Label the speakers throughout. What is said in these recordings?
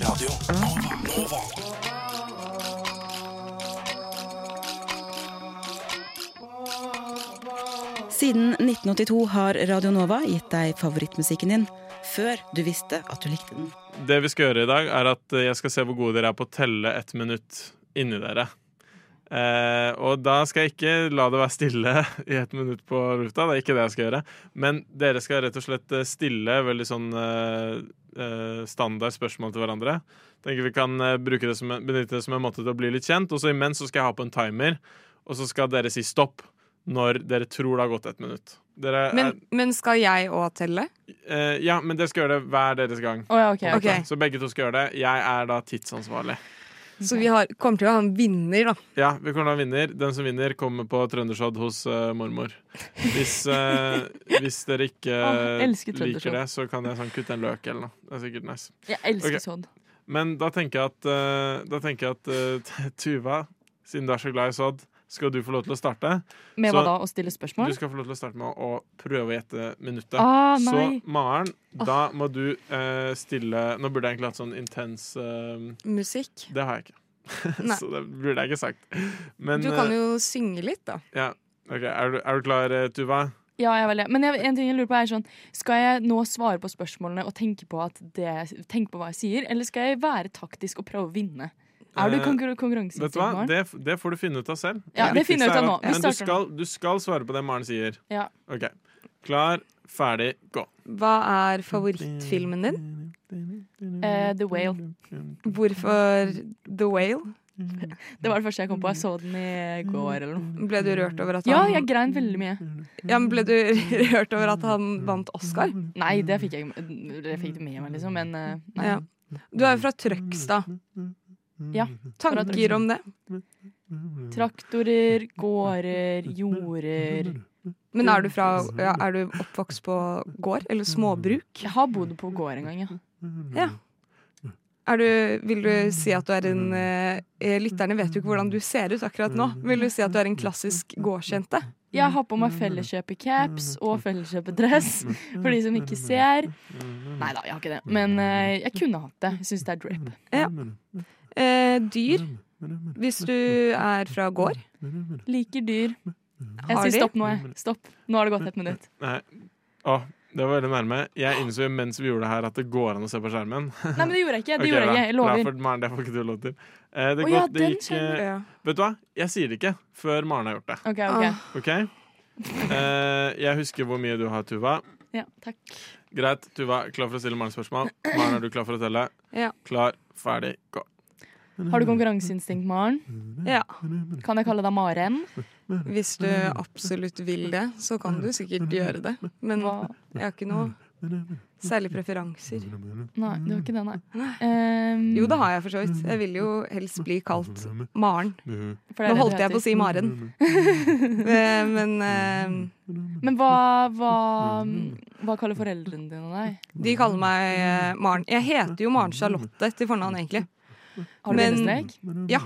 Speaker 1: Radio Nova. Nova.
Speaker 2: Siden 1982 har Radio Nova gitt deg favorittmusikken din før du visste at du likte den.
Speaker 3: Det vi skal gjøre i dag, er at jeg skal se hvor gode dere er på å telle ett minutt inni dere. Eh, og da skal jeg ikke la det være stille i ett minutt på lufta. Det er ikke det jeg skal gjøre. Men dere skal rett og slett eh, stille veldig sånn eh, eh, standard spørsmål til hverandre. Tenker vi kan eh, bruke det som, en- benytte det som en måte til å bli litt kjent. Og så imens så skal jeg ha på en timer, og så skal dere si stopp når dere tror det har gått ett minutt. Dere er,
Speaker 4: Men, men skal jeg òg telle?
Speaker 3: eh, ja, men dere skal gjøre det hver deres gang.
Speaker 5: Å ja, ok.
Speaker 4: Ok.
Speaker 3: Så begge to skal gjøre det. Jeg er da tidsansvarlig.
Speaker 4: Så vi har, kommer til å ha en vinner, da.
Speaker 3: Ja, vi kommer til å ha en vinner. Den som vinner, kommer på trøndersodd hos eh, mormor. Hvis, eh, hvis dere ikke
Speaker 5: Åh, jeg elsker
Speaker 3: liker
Speaker 5: trøndersodd.
Speaker 3: det, så kan jeg sånn kutte en løk eller noe. Det er sikkert nice.
Speaker 5: Jeg elsker
Speaker 3: Ok.
Speaker 5: sånn.
Speaker 3: Men da tenker jeg at, eh, da tenker jeg at eh, Tuva, siden du er så glad i sodd, skal du få lov til å starte.
Speaker 5: Med
Speaker 3: Så-
Speaker 5: hva da? Å stille
Speaker 3: Du
Speaker 5: spørsmål?
Speaker 3: skal få lov til å starte med å prøve å gjette minuttet.
Speaker 5: Ah,
Speaker 3: så
Speaker 5: nei.
Speaker 3: Maren, da må du eh, stille Nå burde jeg egentlig hatt sånn intens eh,
Speaker 4: Musikk.
Speaker 3: Det har jeg ikke.
Speaker 4: Nei.
Speaker 3: så det burde jeg ikke sagt. Men
Speaker 4: Du kan
Speaker 3: eh,
Speaker 4: jo synge litt, da.
Speaker 3: ja. Ok, er, du, er du klar, eh, Tuva?
Speaker 5: Ja, jeg er veldig. Men jeg, en ting jeg lurer på er sånn Skal jeg nå svare på spørsmålene og tenke på, at det, tenke på hva jeg sier, eller skal jeg være taktisk og prøve å vinne? Er du
Speaker 3: Eh,
Speaker 5: konkur
Speaker 3: Vet du hva?
Speaker 5: konkurranseinstinkt?
Speaker 3: Det, det får du finne ut av selv.
Speaker 5: Ja, det finner jeg ut av nå. Vi
Speaker 3: viktigste er at- Men du
Speaker 5: starter
Speaker 3: skal, du skal svare på det Maren sier.
Speaker 5: Ja.
Speaker 3: Ok. Klar, ferdig, gå.
Speaker 4: Hva er favorittfilmen din?
Speaker 5: Eh, The Whale.
Speaker 4: Hvorfor The Whale?
Speaker 5: Det var det første jeg kom på. Jeg så den i går eller noe.
Speaker 4: Ble du rørt over at
Speaker 5: Ja,
Speaker 4: han
Speaker 5: jeg grein veldig mye.
Speaker 4: Ja, men Ble du rørt over at han vant Oscar?
Speaker 5: Nei, det fikk jeg det fikk det med meg, liksom. Men eh, nei.
Speaker 4: Ja. Du er jo fra Trøgstad.
Speaker 5: Ja.
Speaker 4: Tanker om det?
Speaker 5: Traktorer, gårder, jorder
Speaker 4: Men er du, fra, ja, er du oppvokst på gård? Eller småbruk?
Speaker 5: Jeg har bodd på gård en gang, ja.
Speaker 4: Ja. Er du, vil du si at du er en eh, Lytterne vet jo ikke hvordan du ser ut akkurat nå. Vil du si at du er en klassisk gårdsjente?
Speaker 5: Jeg har på meg
Speaker 4: Mm.
Speaker 5: felleskjøpecaps og felleskjøpedress for de som ikke ser.
Speaker 4: Mm.
Speaker 5: Nei da, jeg har ikke det. Men eh, jeg kunne hatt det. Jeg syns det er drape.
Speaker 4: Eh, dyr, hvis du er fra gård.
Speaker 5: Liker dyr. Jeg
Speaker 4: Har
Speaker 5: sier
Speaker 4: de?
Speaker 5: stopp nå, jeg. Stopp. Nå har det gått ett minutt.
Speaker 3: Nei. Å, det var veldig nærme. Jeg innså mens vi gjorde det her at det går an å se på skjermen.
Speaker 5: Nei, men det gjorde jeg ikke.
Speaker 3: Ok,
Speaker 5: Det gjorde
Speaker 3: da.
Speaker 5: jeg ikke. Jeg
Speaker 3: Nei,
Speaker 5: lover.
Speaker 3: for Maren, det får ikke du lov til. Eh, det
Speaker 5: Å
Speaker 3: går-
Speaker 5: ja,
Speaker 3: det
Speaker 5: den
Speaker 3: gikk, eh, Vet du hva? Jeg sier det ikke før Maren har gjort det.
Speaker 5: OK, OK.
Speaker 3: OK? Eh, jeg husker hvor mye du har, Tuva.
Speaker 5: Ja, takk.
Speaker 3: Greit, Tuva, klar for å stille Maren spørsmål? Maren, er du klar for å telle?
Speaker 4: Ja.
Speaker 3: Klar, ferdig, gå.
Speaker 5: Har du konkurranseinstinkt, Maren?
Speaker 4: Ja.
Speaker 5: Kan jeg kalle deg Maren?
Speaker 4: Hvis du absolutt vil det, så kan du sikkert gjøre det. Men
Speaker 5: Hva?
Speaker 4: jeg har ikke noe særlig preferanser.
Speaker 5: Nei, du har ikke det, nei. Ehm,
Speaker 4: Jo, det har jeg for så vidt. Jeg vil jo helst bli kalt Maren.
Speaker 5: for det er
Speaker 4: Nå
Speaker 5: det du
Speaker 4: holdt jeg på å si
Speaker 5: heter.
Speaker 4: Maren. Eh, Men eh,
Speaker 5: Men hva, hva, hva kaller foreldrene dine deg?
Speaker 4: de kaller meg eh, Maren. Jeg heter jo Maren Charlotte til fornavn, egentlig.
Speaker 5: Har du
Speaker 4: Men-
Speaker 5: bindestrek?
Speaker 4: Ja,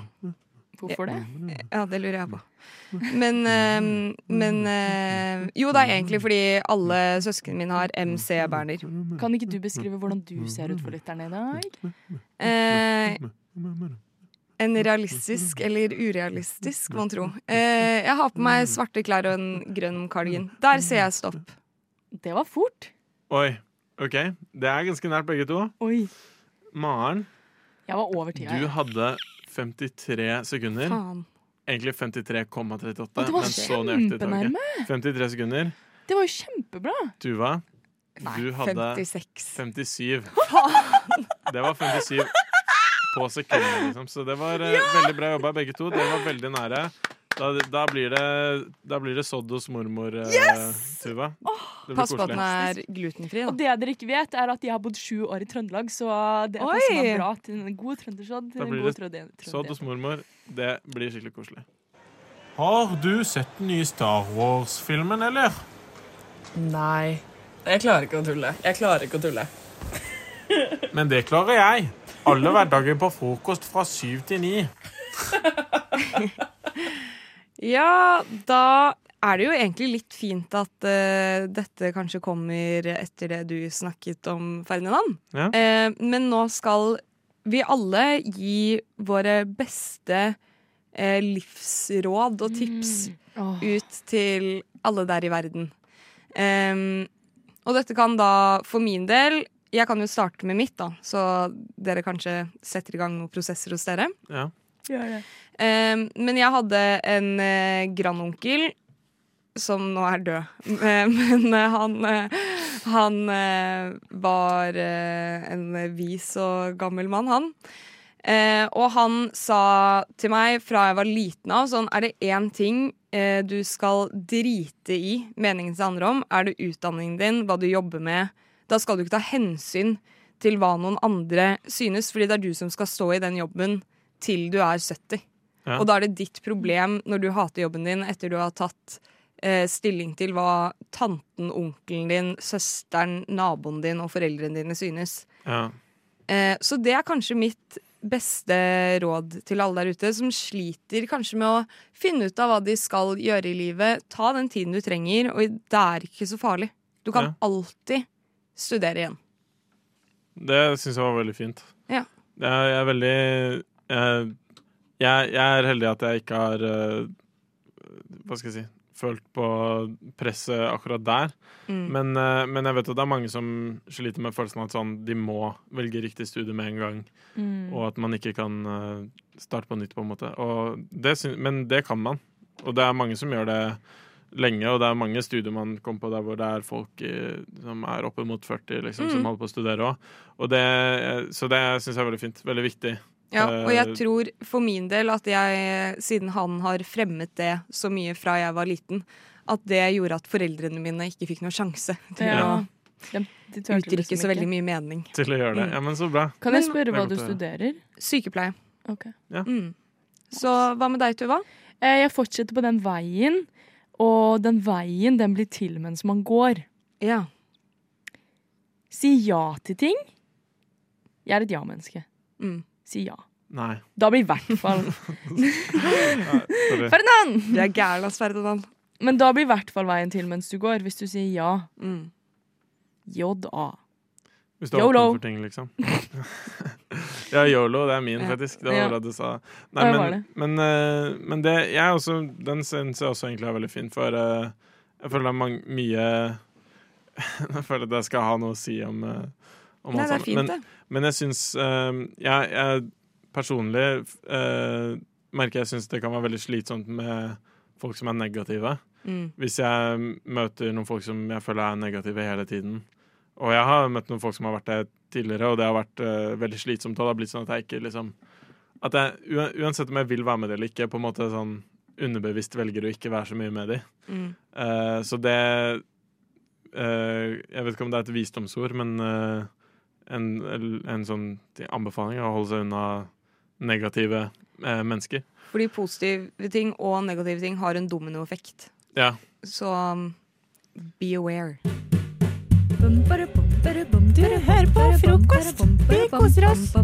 Speaker 5: Hvorfor det?
Speaker 4: ja, det lurer jeg på. Men, eh, men eh, Jo, det er egentlig fordi alle søsknene mine har MC Berner.
Speaker 5: Kan ikke du beskrive hvordan du ser ut for lytterne i dag?
Speaker 4: Eh, en realistisk eller urealistisk, mon tro. Eh, jeg har på meg svarte klær og en grønn kardigan. Der sier jeg stopp.
Speaker 5: Det var fort.
Speaker 3: Oi. OK. Det er ganske nært, begge to.
Speaker 5: Oi.
Speaker 3: Maren,
Speaker 5: Jeg var over tida.
Speaker 3: du
Speaker 5: jeg.
Speaker 3: hadde 53 sekunder.
Speaker 4: Faen.
Speaker 3: Egentlig 53,38,
Speaker 5: Å, det var
Speaker 3: men så nøyaktig tar vi ikke.
Speaker 5: kjempenærme!
Speaker 3: 53 sekunder.
Speaker 5: Det var jo kjempebra!
Speaker 3: Tuva, du hadde
Speaker 4: 56.
Speaker 3: 57. Det var 57 på sekundet, liksom. Så det var eh, veldig bra jobba, begge to. Dere var veldig nære. Da, da blir det, da blir det sodd hos mormor, eh, Tuva. Det blir
Speaker 4: Pass på at den
Speaker 3: koselig.
Speaker 4: er glutenfri,
Speaker 5: Og
Speaker 4: da.
Speaker 5: det dere ikke vet, er at jeg har bodd sju år i Trøndelag, så det
Speaker 4: Oi!
Speaker 5: passer meg bra til en god trøndersodd. til
Speaker 3: Da
Speaker 5: en
Speaker 3: blir
Speaker 5: god
Speaker 3: det
Speaker 5: trønde-
Speaker 3: Sodd hos
Speaker 5: trønder.
Speaker 3: mormor, det blir skikkelig koselig.
Speaker 6: Har du sett den nye Star Wars-filmen, eller?
Speaker 7: Nei. Jeg klarer ikke å tulle. Jeg klarer ikke å tulle.
Speaker 6: Men det klarer jeg. Alle hverdager på frokost fra syv til ni.
Speaker 4: Ja, da er det jo egentlig litt fint at eh, dette kanskje kommer etter det du snakket om, Ferdinand.
Speaker 3: Ja.
Speaker 4: Eh, men nå skal vi alle gi våre beste eh, livsråd og tips ut til alle der i verden. Ehm, og dette kan da, for min del Jeg kan jo starte med mitt, da, så dere kanskje setter i gang noen prosesser hos dere.
Speaker 3: Ja.
Speaker 4: Ehm, men jeg hadde en eh, grandonkel som nå er død. Eh, men eh, han, eh, han eh, var eh, en vis og gammel mann, han. Eh, og han sa til meg fra jeg var liten av sånn Er det én ting eh, du skal drite i meningen det handler om, er det utdanningen din, hva du jobber med. Da skal du ikke ta hensyn til hva noen andre synes, fordi det er du som skal stå i den jobben til du er 70.
Speaker 3: Ja.
Speaker 4: Og da er det ditt problem når du hater jobben din etter du har tatt eh, stilling til hva tanten, onkelen din, søsteren, naboen din og foreldrene dine synes.
Speaker 3: Ja.
Speaker 4: Eh, så det er kanskje mitt beste råd til alle der ute som sliter kanskje med å finne ut av hva de skal gjøre i livet. Ta den tiden du trenger, og det er ikke så farlig. Du kan
Speaker 3: Ja.
Speaker 4: alltid studere igjen.
Speaker 3: Det syns jeg var veldig fint.
Speaker 4: Ja.
Speaker 3: Det er, jeg er veldig jeg, jeg, jeg er heldig at jeg ikke har eh, Hva skal jeg si Følt på presset akkurat der.
Speaker 4: Mm.
Speaker 3: Men, eh, men jeg vet at det er mange som sliter med følelsen av at sånn, de må velge riktig studie med en gang.
Speaker 5: Mm.
Speaker 3: Og at man ikke kan eh, starte på nytt, på en måte. Og det syn- men det kan man. Og det er mange som gjør det lenge, og det er mange studier man kommer på der hvor det er folk i, som er oppe mot 40, liksom,
Speaker 4: Mm.
Speaker 3: som holder på å studere òg. Og det, så det syns jeg er veldig fint. Veldig viktig.
Speaker 4: Ja, og jeg
Speaker 3: Eh,
Speaker 4: tror for min del at jeg, siden han har fremmet det så mye fra jeg var liten, at det gjorde at foreldrene mine ikke fikk noen sjanse til
Speaker 5: Ja. De, de
Speaker 4: å
Speaker 5: turte
Speaker 4: uttrykke
Speaker 5: liksom
Speaker 4: så
Speaker 5: ikke.
Speaker 4: veldig mye mening.
Speaker 3: Til å gjøre det.
Speaker 4: Mm.
Speaker 3: Ja, men så bra.
Speaker 5: Kan jeg
Speaker 4: Men-
Speaker 5: spørre
Speaker 3: Det er
Speaker 5: hva
Speaker 3: godt
Speaker 5: du
Speaker 3: å høre.
Speaker 5: studerer?
Speaker 4: Sykepleie.
Speaker 5: Ok.
Speaker 4: Mm. Så hva med deg, Tuva?
Speaker 5: Eh, Jeg fortsetter på den veien, og den veien den blir til mens man går.
Speaker 4: Ja.
Speaker 5: Si ja til ting. Jeg er et ja-menneske.
Speaker 4: Mm.
Speaker 5: Si ja.
Speaker 3: Nei.
Speaker 5: Da blir i hvert fall
Speaker 3: Sorry.
Speaker 5: Ferdinand!
Speaker 4: Du er gæren, ass, Ferdinand.
Speaker 5: Men da blir i hvert fall veien til mens du går, hvis du sier ja.
Speaker 4: Mm.
Speaker 5: J-a.
Speaker 3: Hvis du er
Speaker 5: YOLO.
Speaker 3: åpen for ting, liksom. ja, yolo, det er min,
Speaker 4: Ja.
Speaker 3: faktisk. Det var
Speaker 5: Ja.
Speaker 3: bra du sa.
Speaker 5: Ja,
Speaker 3: Nei,
Speaker 5: det var
Speaker 3: men, men, eh, men det jeg er også, Den syns jeg også egentlig er veldig fin, for eh, jeg føler det er mang- mye Jeg føler at jeg skal ha noe å si om, eh, om
Speaker 4: Nei, det
Speaker 3: alt
Speaker 4: er
Speaker 3: sammen.
Speaker 4: fint,
Speaker 3: Men,
Speaker 4: det.
Speaker 3: men jeg syns jeg, jeg personlig eh, merker jeg syns det kan være veldig slitsomt med folk som er negative.
Speaker 4: Mm.
Speaker 3: Hvis jeg møter noen folk som jeg føler er negative hele tiden. Og jeg har møtt noen folk som har vært det tidligere, og det har vært eh, veldig slitsomt. Og det har blitt sånn at jeg ikke liksom At jeg ua- uansett om jeg vil være med det eller ikke, på en måte sånn underbevisst velger å ikke være så mye med de.
Speaker 4: Mm.
Speaker 3: Eh, så det eh, Jeg vet ikke om det er et visdomsord, men eh, en, en sånn anbefaling er å holde seg unna negative eh, mennesker.
Speaker 4: Fordi positive ting og negative ting har en dominoeffekt.
Speaker 3: Ja.
Speaker 4: Så um, be aware.
Speaker 8: Du hører på frokost. Vi koser oss.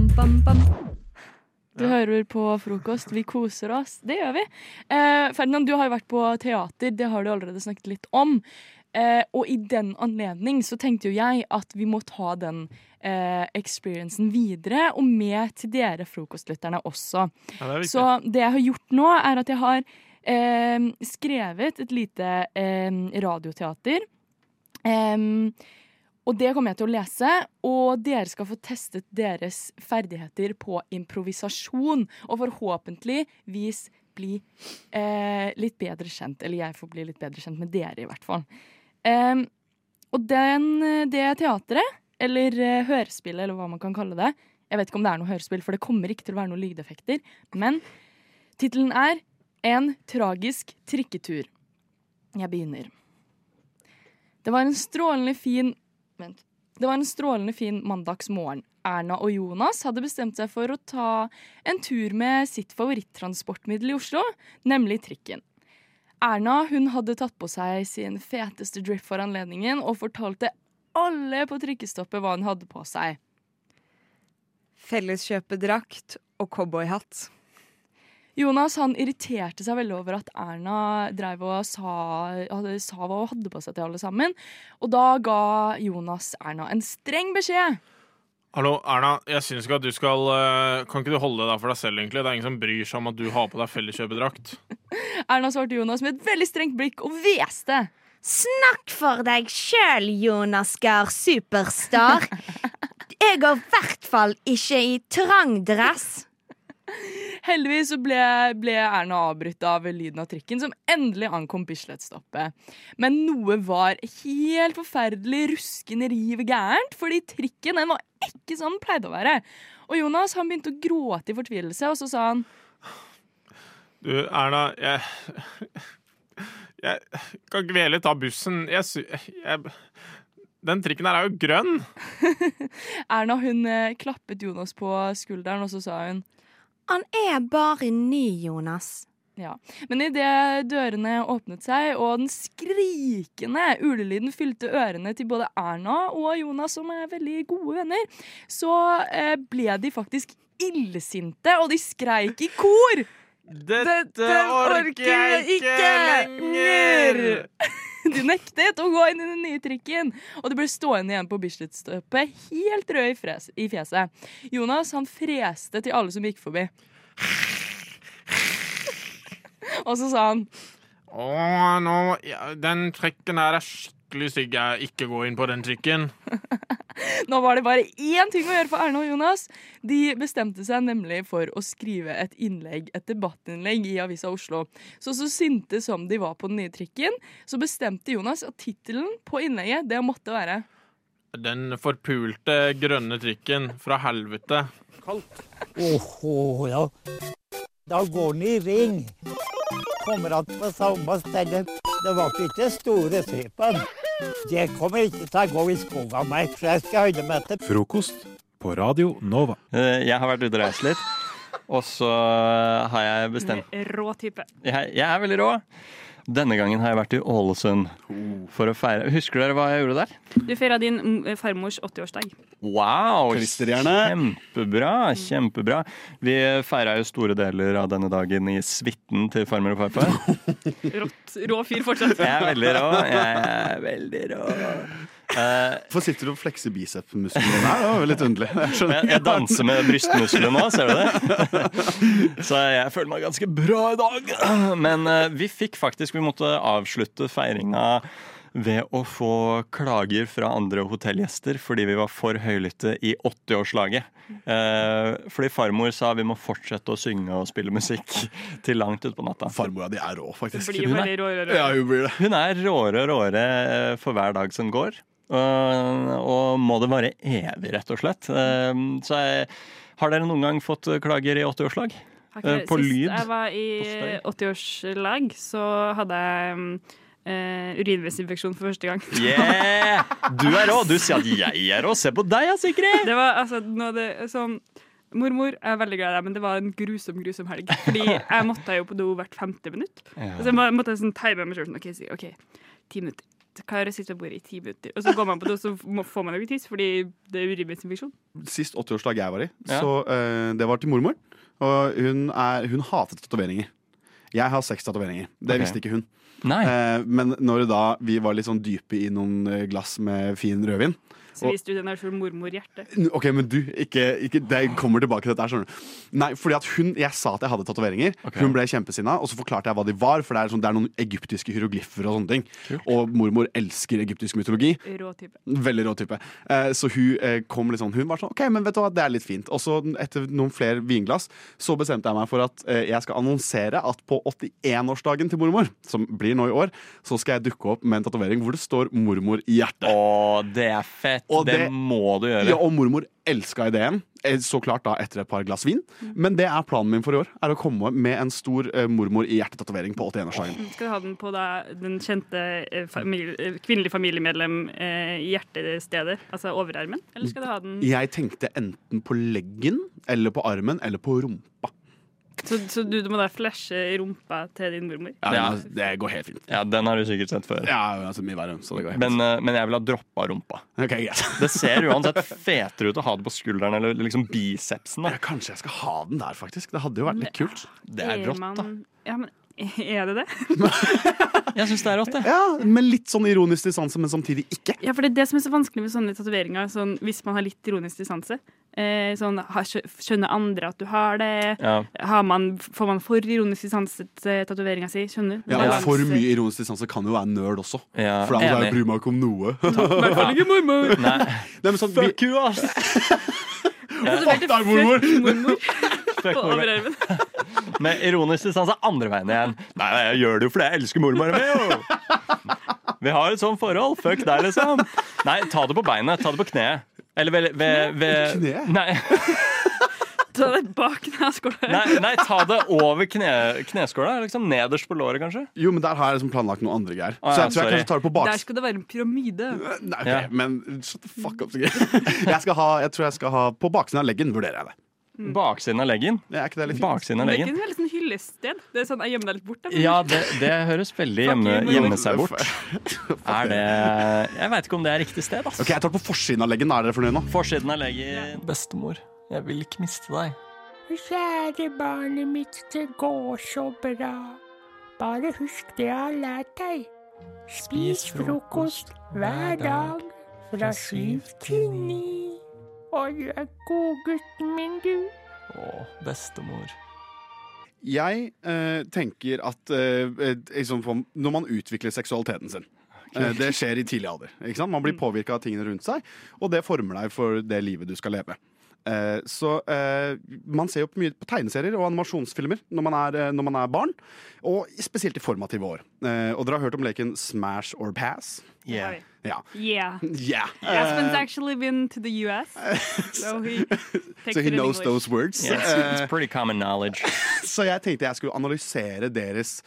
Speaker 5: Du hører på frokost. Vi koser oss. Det gjør vi. Eh, Ferdinand, du har jo vært på teater. Det har du allerede snakket litt om. Eh, og i den anledning så tenkte jo jeg at vi må ta den eh, experiencen videre, og med til dere frokostlytterne også.
Speaker 3: Ja, det er viktig.
Speaker 5: Så det jeg har gjort nå, er at jeg har eh, skrevet et lite eh, radioteater. Em, og det kommer jeg til å lese, og dere skal få testet deres ferdigheter på improvisasjon. Og forhåpentligvis bli eh, litt bedre kjent. Eller jeg får bli litt bedre kjent med dere, i hvert fall. Em, og den, det teatret, eller eh, hørespillet, eller hva man kan kalle det Jeg vet ikke om det er noe hørespill, for det kommer ikke til å være noen lydeffekter. Men tittelen er 'En tragisk trikketur'. Jeg begynner. Det var en strålende fin Vent. Det var en strålende fin mandagsmorgen. Erna og Jonas hadde bestemt seg for å ta en tur med sitt favorittransportmiddel i Oslo, nemlig trikken. Erna hun hadde tatt på seg sin feteste drip for anledningen og fortalte alle på trikkestoppet hva hun hadde på seg.
Speaker 4: Felleskjøpedrakt og cowboyhatt.
Speaker 5: Jonas han irriterte seg veldig over at Erna drev og sa, hadde- sa hva hun hadde på seg til alle sammen. Og da ga Jonas Erna en streng beskjed.
Speaker 3: Hallo, Erna. Jeg syns ikke at du skal eh, Kan ikke du holde deg for deg selv, egentlig? Det er ingen som bryr seg om at du har på deg felleskjøpedrakt.
Speaker 5: Erna svarte Jonas med et veldig strengt blikk og hveste.
Speaker 4: Snakk for deg sjøl, Jonas Gahr Superstar. Jeg går i hvert fall ikke i trang dress.
Speaker 5: Heldigvis så ble, ble Erna avbrutt av lyden av trikken som endelig ankom Bislett-stoppet. Men noe var helt forferdelig ruskende riv gærent, fordi trikken den var ikke som den pleide å være. Og Jonas han begynte å gråte i fortvilelse, og så sa han
Speaker 3: Du, Erna, jeg Jeg kan ikke vi heller ta bussen? Jeg sy... Jeg, den trikken her er jo grønn!
Speaker 5: Erna hun eh, klappet Jonas på skulderen, og så sa hun
Speaker 4: Han er bare ny, Jonas.
Speaker 5: Ja. Men idet dørene åpnet seg, og den skrikende ulelyden fylte ørene til både Erna og Jonas, som er veldig gode venner, så eh, ble de faktisk illsinte, og de skreik i kor!
Speaker 3: Dette
Speaker 9: orker jeg ikke lenger!
Speaker 5: De nektet å gå inn i den nye trikken, og de ble stående igjen på Bislett-støpet helt røde i, fres- i fjeset. Jonas han freste til alle som gikk forbi. Og så sa han
Speaker 3: Å, nå ja, Den trikken her er skikkelig stygg. Jeg ikke gå inn på den trikken.
Speaker 5: Nå var det bare én ting å gjøre for Erne og Jonas. De bestemte seg nemlig for å skrive et innlegg, et debattinnlegg i Avisa Oslo. Så så sinte som de var på den nye trikken, så bestemte Jonas at tittelen på innlegget det måtte være
Speaker 3: Den forpulte grønne trikken fra helvete.
Speaker 10: Åhå, ja. Da går den i ring. Kommer att på samme sted. Det var ikke store typen. Det kommer ikke til å gå i skogen av meg, for jeg skal holde meg til
Speaker 1: Frokost på Radio Nova.
Speaker 11: Eh, Jeg har vært ute og reist litt, og så eh, har jeg bestemt
Speaker 12: Rå type.
Speaker 11: jeg, jeg er veldig rå. Denne gangen har jeg vært i Ålesund for å feire Husker dere hva jeg gjorde der?
Speaker 12: Du feira din mm, farmors 80-årsdag.
Speaker 11: Wow!
Speaker 12: Klisterhjerne.
Speaker 11: Kjempebra. kjempebra. Vi feira jo store deler av denne dagen i suiten til farmor og farfar.
Speaker 12: Rått, rå fyr fortsatt.
Speaker 11: Jeg er veldig rå. Jeg er veldig rå.
Speaker 13: Hvorfor sitter du og flekser bicepsmusklene der? Det sånn- var jo litt underlig. Jeg, skjønner
Speaker 11: Jeg, jeg
Speaker 13: ikke.
Speaker 11: danser med brystmusklene nå, ser du det? Så jeg føler meg ganske bra i dag. Men eh, vi fikk faktisk Vi måtte avslutte feiringa ved å få klager fra andre hotellgjester fordi vi var for høylytte i 80-årslaget. Eh, fordi farmor sa vi må fortsette å synge og spille musikk til langt utpå natta.
Speaker 13: Farmora di er rå, faktisk.
Speaker 11: Hun er- hun er råere og råere eh, for hver dag som går. Og, og må det vare evig, rett og slett. Eh, Så jeg, har dere noen gang fått klager i 80-årslag?
Speaker 12: Har ikke
Speaker 11: Eh,
Speaker 12: det.
Speaker 11: På
Speaker 12: Sist
Speaker 11: lyd?
Speaker 12: jeg var i 80-årslag, så hadde jeg mm, eh, urinveisinfeksjon for første gang.
Speaker 11: Yeah! Du er rå! Du sier at jeg er rå! Se på deg, altså!
Speaker 12: Det var altså noe av det sånn Mormor, jeg er veldig glad i deg, men det var en grusom grusom helg. Fordi jeg måtte jo på do hvert femte minutt.
Speaker 11: Ja.
Speaker 12: Så jeg må- måtte sånn time meg selv sånn, OK, si, ok, ti minutter. Så klarer jeg å sitte ved bordet i ti minutter. Og så går man på do, så må- får man jo ikke tiss fordi det er urinveisinfeksjon.
Speaker 13: Sist 80-årslag jeg var i,
Speaker 12: Ja.
Speaker 13: så eh, det var til mormor. Og hun, er, hun hatet tatoveringer. Jeg har seks tatoveringer. Det
Speaker 11: Ok.
Speaker 13: visste ikke hun. Eh, men når da vi var litt sånn dype i noen eh, glass med fin rødvin
Speaker 12: Så viste du den der for mormor hjertet.
Speaker 13: N- Ok, men du, ikke, ikke Det kommer tilbake til dette her, skjønner du. Nei, fordi at hun, Jeg sa at jeg hadde tatoveringer. Hun ble kjempesinna, og så forklarte jeg hva de var. For det er, sånn, det er noen egyptiske hieroglyfer og sånne ting. Og mormor elsker egyptisk mytologi.
Speaker 12: Rå type.
Speaker 13: Veldig rå type. Eh, så hun eh, kom litt sånn Hun var sånn OK, men vet du hva, det er litt fint. Og så etter noen flere vinglass så bestemte jeg meg for at eh, jeg skal annonsere at på 81-årsdagen til mormor, som blir nå i år, så skal jeg dukke opp med en tatovering hvor det står 'mormor i hjertet'.
Speaker 11: Å, det er fett. Det må du gjøre.
Speaker 13: Ja, og mormor elska ideen. Eh, Så klart da etter et par glass vin. Men det er planen min for i år. Er å komme med en stor eh, mormor i hjertetatovering på 81-årsdagen.
Speaker 12: Skal du ha den på da, den kjente eh, familie, eh, kvinnelige familiemedlem eh, i hjertestedet? Altså overarmen? Eller skal du ha den
Speaker 13: Jeg tenkte enten på leggen eller på armen eller på rumpa.
Speaker 12: Så, så du, du må da flashe i rumpa til din mormor?
Speaker 11: Ja,
Speaker 13: altså, det går helt fint.
Speaker 11: Ja, Den har du sikkert sett før.
Speaker 13: Ja, altså mye verre, så det går helt
Speaker 11: men, eh, men jeg ville ha droppa rumpa. Det ser uansett fetere ut å ha det på skulderen eller liksom bicepsen. Da.
Speaker 13: kanskje jeg skal ha den der, faktisk. Det hadde jo vært litt kult.
Speaker 11: Det er rått.
Speaker 12: man- Ja, men er det det?
Speaker 11: Jeg syns det er rått, det.
Speaker 13: Ja, Med litt sånn ironisk distanse, men samtidig ikke.
Speaker 12: Ja, for det er det som er så vanskelig med sånne tatoveringer, sånn, hvis man har litt ironisk distanse. Eh, sånn, har, skjø- skjønner andre at du har det?
Speaker 13: Ja.
Speaker 12: Har man, får man for ironisk distanse til tatoveringa si? Skjønner du?
Speaker 13: Ja, og
Speaker 12: Balanse.
Speaker 13: For mye ironisk distanse kan jo være nerd også. For da hadde
Speaker 11: enig.
Speaker 13: jeg brydd meg ikke om noe.
Speaker 12: hvert fall ikke mormor.
Speaker 11: Nei.
Speaker 13: Nei, men sånn, vi-
Speaker 11: Fuck you, ass!
Speaker 12: Tatoverte
Speaker 13: Fuck deg, mormor!
Speaker 12: fuck mormor.
Speaker 11: Fuck
Speaker 12: På
Speaker 11: mormor.
Speaker 12: overarmen.
Speaker 11: Med ironisk distanse andre veien igjen. Nei, nei, jeg gjør det jo fordi jeg elsker mormor mi, jo! Vi har et sånt forhold. Fuck deg, liksom. Nei, ta det på beinet. Ta det på kneet. Eller ved, ved, ved Nei,
Speaker 12: Ta det bak kneskåla.
Speaker 11: nei, nei, ta det over kne, kneskåla. Liksom nederst på låret, kanskje.
Speaker 13: Jo, men der har jeg liksom planlagt noe andre greier.
Speaker 11: Ah,
Speaker 13: så
Speaker 11: ja,
Speaker 13: jeg tror jeg
Speaker 11: sorry.
Speaker 13: kanskje tar det på
Speaker 12: Der
Speaker 13: baks.
Speaker 12: skal det være en pyramide.
Speaker 13: Nei, ok, men shut the fuck up. Sigrid. Jeg, skal ha, jeg tror jeg skal ha På baksiden av leggen vurderer jeg det.
Speaker 11: Baksiden av leggen? Baksiden av
Speaker 12: Det er ikke
Speaker 11: leggen.
Speaker 12: et veldig sånn hyllested. Det er sånn, jeg gjemmer deg litt bort. da.
Speaker 11: Ja, det, det høres veldig hjemme,
Speaker 12: you, mormor.
Speaker 11: gjemme seg bort. Er det Eh, Jeg veit ikke om det er riktig sted, ass.
Speaker 13: Ok, Jeg tar det på forsiden av leggen. Er dere fornøyd nå?
Speaker 11: Forsiden av leggen. Bestemor, jeg vil ikke miste deg.
Speaker 14: Kjære barnet mitt, det går så bra. Bare husk det jeg har lært deg. Spis frokost hver dag fra syv til ni. Å, du er god gutten min, du.
Speaker 11: Å, bestemor.
Speaker 13: Jeg eh, tenker at eh, eh, liksom, for- når man utvikler seksualiteten sin eh, Det skjer i tidlig alder. Ikke sant? Man
Speaker 11: Mm.
Speaker 13: blir påvirka av tingene rundt seg, og det former deg for det livet du skal leve. Eh, så eh, Man ser jo mye på tegneserier og animasjonsfilmer når man er, eh, når man er barn. Og spesielt i formative år. Eh, og dere har hørt om leken Smash or Pass?
Speaker 11: Yeah.
Speaker 13: Ja.
Speaker 12: Yeah.
Speaker 13: Yeah.
Speaker 12: Aspen's
Speaker 13: Eh,
Speaker 12: actually been to the US. So he, takes
Speaker 13: So
Speaker 12: it
Speaker 13: he
Speaker 12: in
Speaker 13: knows
Speaker 12: English.
Speaker 13: those words.
Speaker 11: Yeah, it's,
Speaker 13: Eh,
Speaker 11: it's pretty common knowledge.
Speaker 13: Så jeg tenkte jeg skulle analysere deres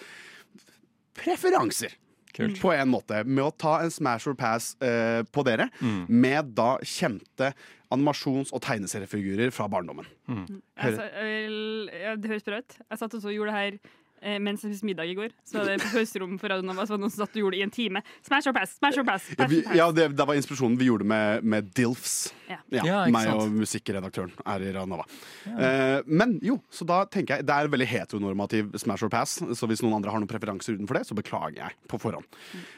Speaker 13: preferanser. På en måte, med å ta en smash or pass eh, på dere,
Speaker 11: Mm.
Speaker 13: med da kjente animasjons- og tegneseriefigurer fra barndommen.
Speaker 11: Mm.
Speaker 12: Jeg sa- vel, ja, det høres bra ut. Jeg satt også og gjorde det her eh, mens jeg spiste middag i går. Så var det på pauserommet for Radio Nova så var det noen som satt og gjorde det i en time. Smash or pass! Smash or pass!
Speaker 13: Ja,
Speaker 12: Smash
Speaker 13: vi,
Speaker 12: or pass.
Speaker 13: ja det, det var inspirasjonen vi gjorde med, med DILFs.
Speaker 12: Ja.
Speaker 11: Ja, ikke
Speaker 13: meg
Speaker 11: sant.
Speaker 13: og musikkredaktøren er i Ranova. Eh, men jo, så da tenker jeg Det er veldig heteronormativ smash or pass, så hvis noen andre har noen preferanser utenfor det, så beklager jeg på forhånd.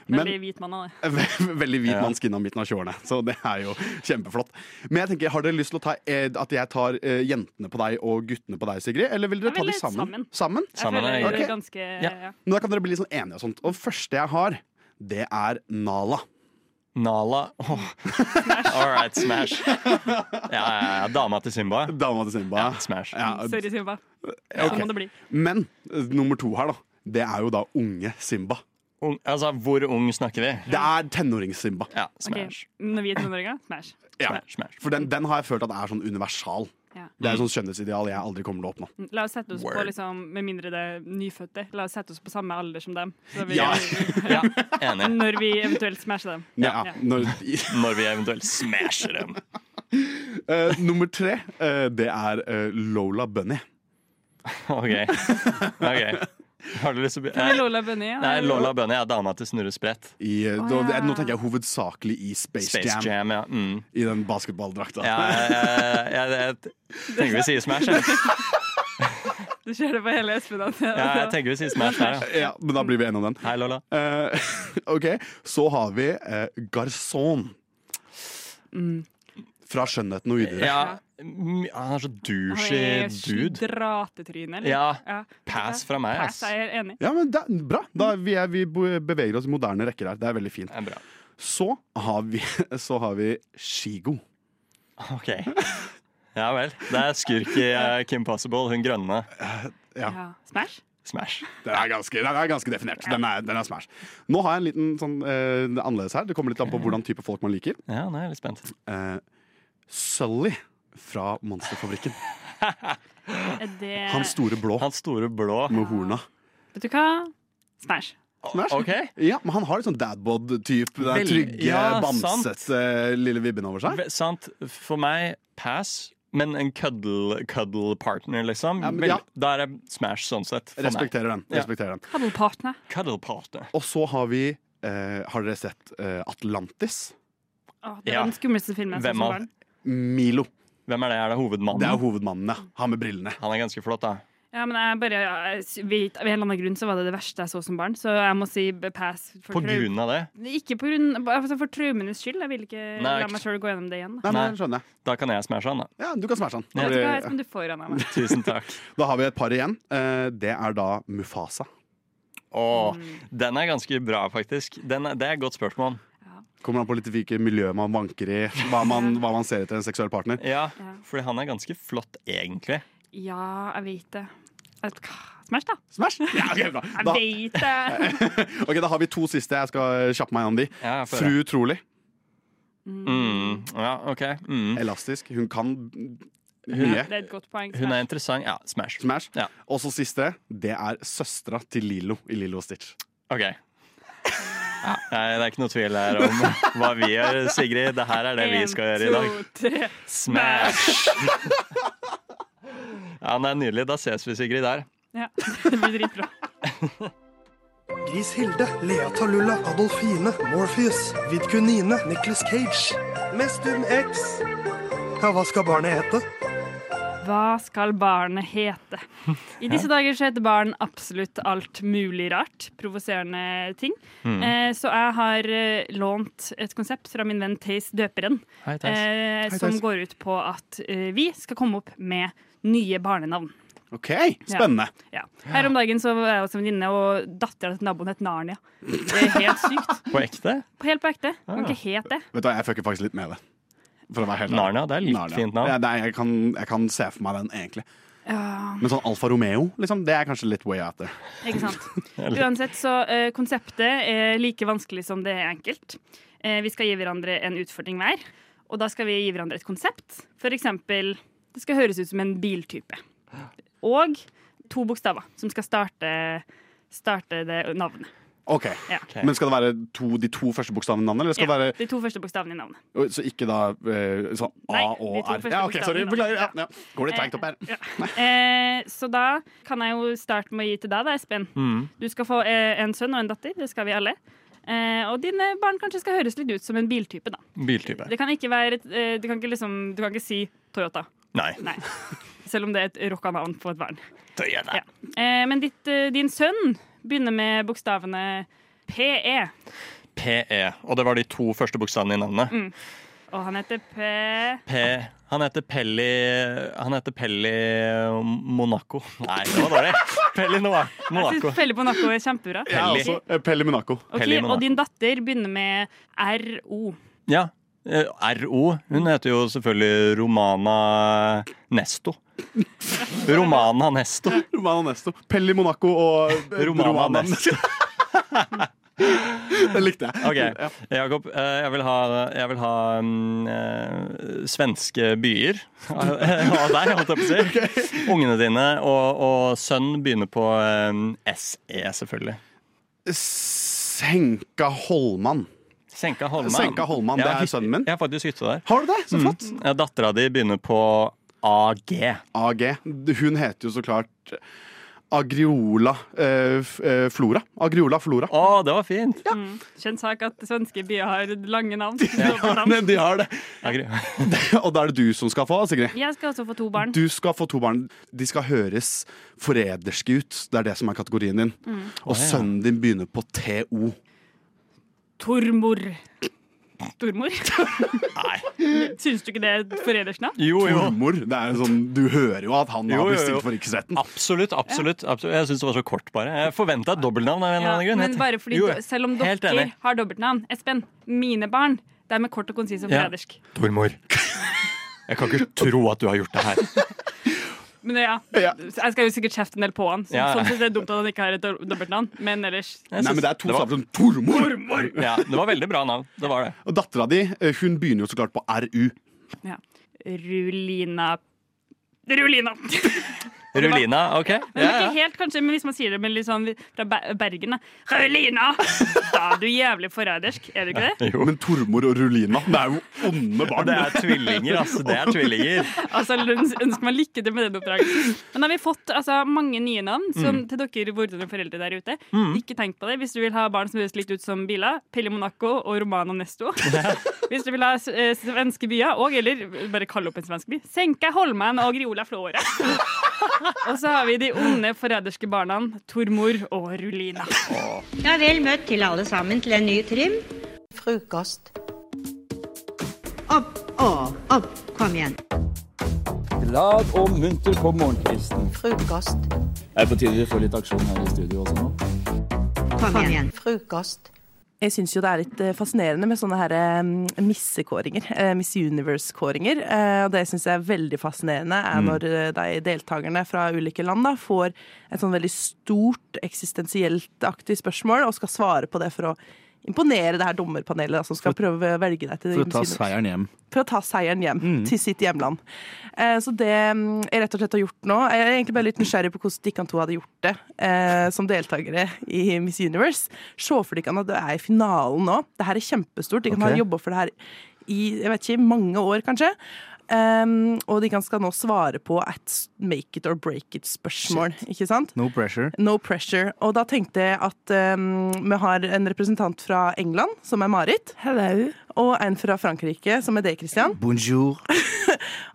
Speaker 13: Men-
Speaker 12: Veldig hvit mann av det.
Speaker 13: Ve- Veldig hvit
Speaker 11: Ja.
Speaker 13: mann skinna midten av 20-årene, så det er jo kjempeflott. Men jeg tenker, Har dere lyst til å ta eh, at jeg tar eh, jentene på deg og guttene på deg, Sigrid? Eller vil dere
Speaker 12: Jeg
Speaker 13: ta
Speaker 12: vil
Speaker 13: dem sammen?
Speaker 12: sammen. Jeg
Speaker 13: Sammen?
Speaker 12: føler det
Speaker 13: Ok.
Speaker 12: er ganske ja.
Speaker 13: Men Da kan dere bli litt sånn enige og sånt. Og det første jeg har, det er Nala.
Speaker 11: Nala All right, smash. Ja, ja, ja. Dama til Simba.
Speaker 13: Dama til Simba.
Speaker 11: Ja, smash.
Speaker 12: Sorry, Simba.
Speaker 13: Ok.
Speaker 12: Sånn må det bli.
Speaker 13: Men eh, nummer to her, da. Det er jo da unge Simba.
Speaker 11: Ung, altså, hvor ung snakker vi?
Speaker 13: Det er tenårings-Simba.
Speaker 11: Ja,
Speaker 12: Ok, Når vi er tenåringer, smash.
Speaker 13: For den, den har jeg følt at er sånn universal.
Speaker 12: Ja.
Speaker 13: Det er et sånt skjønnhetsideal jeg aldri kommer til å oppnå.
Speaker 12: La oss sette oss på,
Speaker 13: Word.
Speaker 12: liksom, med mindre det er nyfødte, la oss sette oss på samme alder som dem. Så vi,
Speaker 13: Ja.
Speaker 11: Ja, enig.
Speaker 12: Når vi eventuelt smasher dem.
Speaker 13: Ja, Når,
Speaker 11: Når vi eventuelt smasher dem.
Speaker 13: Eh, nummer tre, eh, det er eh, Lola Bunny.
Speaker 11: OK. ok Har du lyst til å
Speaker 12: Hvem er
Speaker 11: be-
Speaker 12: Lola Bunny?
Speaker 11: Nei, Nei, Lola Bunny er dama til Snurre Sprett.
Speaker 13: I, eh,
Speaker 12: Å,
Speaker 13: da-
Speaker 12: ja.
Speaker 13: Nå tenker jeg hovedsakelig i Space,
Speaker 11: Space
Speaker 13: Jam.
Speaker 11: Jam, ja. Mm.
Speaker 13: I den basketballdrakta.
Speaker 11: Ja, jeg, jeg, jeg, tenker vi sier Smash. Jeg,
Speaker 12: Du ser det på hele Espen. at-
Speaker 11: ja, jeg tenker vi sier Smash her, ja.
Speaker 13: Ja, men da blir vi enige om den.
Speaker 11: Hei, Lola.
Speaker 13: Eh, ok, Så har vi eh, Garson.
Speaker 12: Mm.
Speaker 13: Fra 'Skjønnheten og udyret'.
Speaker 11: Ja, mm, han er så
Speaker 12: Han
Speaker 11: douchey
Speaker 12: er
Speaker 11: dude.
Speaker 12: Dratetryne. eller?
Speaker 11: Ja. Pass fra meg,
Speaker 12: Pass,
Speaker 11: ass.
Speaker 12: jeg er enig.
Speaker 13: Ja, men det er Bra. Da, vi, er, vi bo- beveger oss i moderne rekker her. Det er veldig fint. Så har vi, så har vi Shigo.
Speaker 11: OK. Ja vel. Det er skurk i eh, Kim Possible, hun grønne.
Speaker 13: Ja.
Speaker 12: Smash?
Speaker 11: Smash.
Speaker 13: Eh, Den er ganske, den er ganske definert. Den er, den er smash. Nå har jeg en liten sånn eh, annerledes her. Det kommer litt an på hvordan type folk man liker.
Speaker 11: Ja, nå er jeg litt spent.
Speaker 13: Eh, Sully fra Monsterfabrikken.
Speaker 12: Er det
Speaker 13: Han store blå.
Speaker 11: Han store blå
Speaker 13: Med horna.
Speaker 12: Vet du hva? Smash.
Speaker 13: Smash.
Speaker 11: Ok.
Speaker 13: Ja, men han har litt sånn dadbod-type. Den
Speaker 11: Vel-
Speaker 13: trygge,
Speaker 11: ja, sant.
Speaker 13: bamsete lille vibben eh, over seg.
Speaker 11: Ve- Sant. For meg, pass. Men en cuddle, cuddle partner, liksom.
Speaker 13: Ja, men
Speaker 11: Vel,
Speaker 13: ja.
Speaker 11: Da er det Smash, sånn sett. for meg.
Speaker 13: Respekterer den.
Speaker 11: Ja.
Speaker 13: Respekterer den.
Speaker 12: Hadde en partner.
Speaker 11: Cuddle partner.
Speaker 13: Og så har vi eh, Har dere sett eh, Atlantis?
Speaker 12: Å, det
Speaker 13: Ja.
Speaker 12: var den skumleste filmen jeg så
Speaker 13: Hvem
Speaker 12: som
Speaker 13: av-
Speaker 12: barn.
Speaker 13: Milo.
Speaker 11: Hvem er det? Er det hovedmannen?
Speaker 13: Det er hovedmannen, ja. Han med brillene.
Speaker 11: Han er ganske flott, da.
Speaker 12: Ja, men jeg bare, jeg vet, Av en eller annen grunn så var det det verste jeg så som barn, så jeg må si b- pass. For
Speaker 11: På
Speaker 12: trau-
Speaker 11: grunn av det?
Speaker 12: Ikke på grunn, bare for- for traumenes skyld. Jeg vil ikke
Speaker 11: Nei,
Speaker 12: la
Speaker 11: ikke-
Speaker 12: meg sjøl gå gjennom det igjen. Da.
Speaker 11: Nei, Da kan jeg smashe han, da.
Speaker 13: Ja, du kan smashe han.
Speaker 12: Jeg vet ikke hva jeg som du får av meg.
Speaker 11: Tusen takk.
Speaker 13: Da har vi et par igjen. Eh, det er da Mufasa.
Speaker 11: Åh, Den er ganske bra, faktisk. Den er, det er et godt spørsmål.
Speaker 13: Kommer an på litt hvilket miljø man vanker i. Hva man, hva man ser etter en seksuell partner.
Speaker 11: Ja, fordi han er ganske flott, egentlig.
Speaker 12: Ja, jeg vet det. Jeg vet- Smash, da.
Speaker 13: Smash? Ja, ok, bra.
Speaker 12: Jeg
Speaker 13: Da-
Speaker 12: vet det.
Speaker 13: Ok, Da har vi to siste. Jeg skal kjappe meg gjennom de.
Speaker 11: Ja, få
Speaker 13: Fru
Speaker 11: høre.
Speaker 13: Trolig.
Speaker 11: Mm. Ja, ok. Mm.
Speaker 13: Elastisk. Hun kan
Speaker 11: Hun,
Speaker 13: mye.
Speaker 12: Det er et godt poeng.
Speaker 11: hun er interessant. Ja, smash.
Speaker 13: Smash.
Speaker 11: Ja.
Speaker 13: Og så siste. Det er søstera til Lilo i Lilo og Stitch.
Speaker 11: Ok. Ja, nei, det er ikke noe tvil her om hva vi gjør, Sigrid. Det her er det vi skal gjøre i dag.
Speaker 12: dag.
Speaker 11: Smash! Ja, den er nydelig. Da ses vi, Sigrid, der.
Speaker 12: Ja, det blir dritbra.
Speaker 2: Gris Hilde, Lea Talulla, Adolfine, Morpheus, Vidkunine, Nicolas Cage. Mestum X. Ja, hva skal barnet hete?
Speaker 12: Hva skal barnet hete? I disse dager så heter barn absolutt alt mulig rart. Provoserende ting.
Speaker 15: Mm.
Speaker 12: Eh, så jeg har eh, lånt et konsept fra min venn Theis Døperen.
Speaker 15: Hei, Theis.
Speaker 12: eh,
Speaker 15: Hei,
Speaker 12: som
Speaker 15: Theis.
Speaker 12: går ut på at eh, vi skal komme opp med nye barnenavn.
Speaker 13: OK, spennende.
Speaker 12: Ja. Her om dagen så var jeg hos en venninne, og dattera til naboen het Narnia. Det er helt sykt.
Speaker 11: På ekte?
Speaker 12: På helt på ekte.
Speaker 15: Ah.
Speaker 12: Kan ikke hete det.
Speaker 13: Vet du hva, Jeg fucker faktisk litt med det. For å være helt ærlig.
Speaker 11: Narnia, det er litt fint navn.
Speaker 13: Ja, det er, jeg, kan, jeg kan se for meg den, egentlig.
Speaker 12: Ja,
Speaker 13: Men sånn Alfa Romeo, liksom, det er kanskje litt way out there.
Speaker 12: ikke sant. Uansett, så eh, konseptet er like vanskelig som det er enkelt. Eh, vi skal gi hverandre en utfordring hver, og da skal vi gi hverandre et konsept. For eksempel, det skal høres ut som en biltype. Og to bokstaver som skal starte, starte det navnet.
Speaker 13: Ok,
Speaker 12: Ja.
Speaker 13: Men skal det være to, de to første bokstavene i navnet? Eller skal
Speaker 12: ja,
Speaker 13: det
Speaker 12: De to første bokstavene i navnet.
Speaker 13: være Så ikke da eh, sånn A
Speaker 12: Nei, de
Speaker 13: og
Speaker 12: to
Speaker 13: R?
Speaker 12: første
Speaker 13: Ja, ok,
Speaker 12: bokstavene
Speaker 13: sorry,
Speaker 12: i
Speaker 13: Beklager. Ja,
Speaker 12: navnet.
Speaker 13: ja. Går litt treigt opp her.
Speaker 12: Eh, ja. Eh, så da kan jeg jo starte med å gi til deg, da, Espen.
Speaker 13: Mm.
Speaker 12: Du skal få eh, en sønn og en datter. Det skal vi alle. Eh, og dine barn kanskje skal høres litt ut som en biltype, da.
Speaker 11: Biltype.
Speaker 12: Det kan ikke være et, eh, du, kan ikke liksom, du kan ikke si Toyota.
Speaker 11: Nei.
Speaker 12: Nei. Selv om det er et rocka navn på et barn.
Speaker 11: Toyota.
Speaker 12: Ja. Eh, men ditt, eh, din sønn begynner med bokstavene PE.
Speaker 11: PE. Og det var de to første bokstavene i navnet.
Speaker 12: Mm. Og han heter P...
Speaker 11: P. Han heter Pelli Han heter Pelli Monaco. Nei, det var dårlig. Pelli Noa-
Speaker 12: Jeg
Speaker 11: Monaco.
Speaker 12: synes Pelle på Naco er kjempebra.
Speaker 13: Ja, altså, eh, Pelle Monaco.
Speaker 12: Ok, Og din datter begynner med RO.
Speaker 11: Ja. eh, RO. Hun heter jo selvfølgelig Romana Nesto. Romana Nesto.
Speaker 13: Romana Nesto. Pelli Monaco og eh,
Speaker 11: Romana
Speaker 13: Nesto. Den likte jeg.
Speaker 11: OK, Jakob. eh, Jeg vil ha, jeg vil ha mm, eh, svenske byer. Av deg, holdt jeg på å si. Ungene dine og, og sønn begynner på eh, SE, selvfølgelig.
Speaker 13: Senka Holman.
Speaker 11: Senka Holman.
Speaker 13: Senka Holman,
Speaker 11: Jeg
Speaker 13: det
Speaker 11: har
Speaker 13: er
Speaker 11: hyt-
Speaker 13: sønnen min.
Speaker 11: Jeg har faktisk hytte der.
Speaker 13: Har du det? Så flott.
Speaker 11: Mm. Dattera di begynner på AG.
Speaker 13: AG. Hun heter jo så klart Agriola eh, f- eh, Flora. Agriola Flora.
Speaker 11: Å, det var fint.
Speaker 12: Mm. Kjent sak at svenske byer har lange navn.
Speaker 13: De har det.
Speaker 11: Agri-
Speaker 13: Og da er det du som skal få, Sigrid.
Speaker 12: Jeg skal også få to barn.
Speaker 13: Du skal få to barn. De skal høres forræderske ut. Det er det som er kategorien din.
Speaker 12: Mm.
Speaker 13: Og sønnen din begynner på TO.
Speaker 12: Tormor. Stormor? Nei. Syns du ikke det er et forrædersk navn?
Speaker 13: Tormor. Det er jo sånn, du hører jo at han
Speaker 11: Jo, jo,
Speaker 13: har
Speaker 11: jo.
Speaker 13: blitt stilt for riksretten.
Speaker 11: Absolutt. absolutt, absolutt. Jeg syns det var så kort, bare. Jeg forventa et dobbeltnavn. av en eller
Speaker 12: Ja,
Speaker 11: annen grunn.
Speaker 12: men
Speaker 11: Jeg-
Speaker 12: bare fordi,
Speaker 11: Jo,
Speaker 12: do- selv om
Speaker 11: helt
Speaker 12: dere
Speaker 11: enig.
Speaker 12: har dobbeltnavn Espen, mine barn, det er med kort og konsis og
Speaker 11: Ja.
Speaker 12: forrædersk.
Speaker 11: Tormor. Jeg kan ikke tro at du har gjort det her.
Speaker 12: Men ja, jeg skal jo sikkert kjefte en del på han. Så,
Speaker 11: Ja.
Speaker 12: Sånn sett er det dumt at han ikke har et do- dobbeltnavn, men ellers
Speaker 13: Nei, men det er to
Speaker 11: Det var-
Speaker 13: stavelser som Tormor!
Speaker 11: Ja, det var veldig bra navn. Det var det.
Speaker 13: Og dattera di eh, hun begynner jo så klart på RU.
Speaker 12: Ja. Rulina Rulina.
Speaker 11: Rulina, OK?
Speaker 12: Men ikke helt, kanskje, men hvis man sier det med litt sånn fra Be- Bergen, da. Rulina! Da er du jævlig forrædersk, er du ikke det?
Speaker 13: Men Tormor og Rulina, det er jo onde barn.
Speaker 11: Det er tvillinger, altså. Det er tvillinger.
Speaker 12: Altså, øns- ønsker meg lykke til med den oppdragelsen. Men da har vi fått altså, mange nye navn som
Speaker 11: Mm.
Speaker 12: til dere vordende foreldre der ute.
Speaker 11: Mm.
Speaker 12: Ikke tenk på det hvis du vil ha barn som høres litt ut som biler. Pelle Monaco og Romano Nesto. Hvis du vil ha eh, svenske byer, og eller bare kalle opp en svensk by. Senka Holman og Griola Flåre. og så har vi de onde forræderske barna Tormor og Rulina.
Speaker 15: Ja, vel møtt til alle sammen til en ny trim. Frokost. Opp og opp. Kom igjen.
Speaker 16: Glad og munter på morgenkvisten.
Speaker 15: Frokost.
Speaker 16: Det er på tide vi får litt aksjon her i studio også nå.
Speaker 15: Kom igjen. Frokost.
Speaker 17: Jeg syns jo det er litt eh, fascinerende med sånne her eh, missekåringer. eh, Miss Universe-kåringer. Eh, Og det syns jeg er veldig fascinerende, er
Speaker 7: Mm.
Speaker 17: når eh, de deltakerne fra ulike land da får et sånn veldig stort eksistensielt-aktig spørsmål og skal svare på det for å imponere det her dommerpanelet da, som skal prøve å velge deg til
Speaker 7: For å ta
Speaker 17: Miss Universe
Speaker 7: seieren hjem.
Speaker 17: for å ta seieren hjem til sitt hjemland. Eh, så det mm, jeg rett og slett har gjort nå Jeg er egentlig bare litt nysgjerrig på hvordan dere to hadde gjort det eh, som deltakere i Miss Universe. Se for dere at det er i finalen nå. Det her er kjempestort. De kan
Speaker 7: Ok.
Speaker 17: ha jobba for det her i jeg vet ikke, mange år, kanskje. Um, og de kan skal nå svare på et make it or break it-spørsmål. Ikke sant?
Speaker 7: No pressure.
Speaker 17: No pressure. Og da tenkte jeg at um, vi har en representant fra England, som er Marit. Hello. Og en fra Frankrike, som er deg, Christian.
Speaker 7: Bonjour.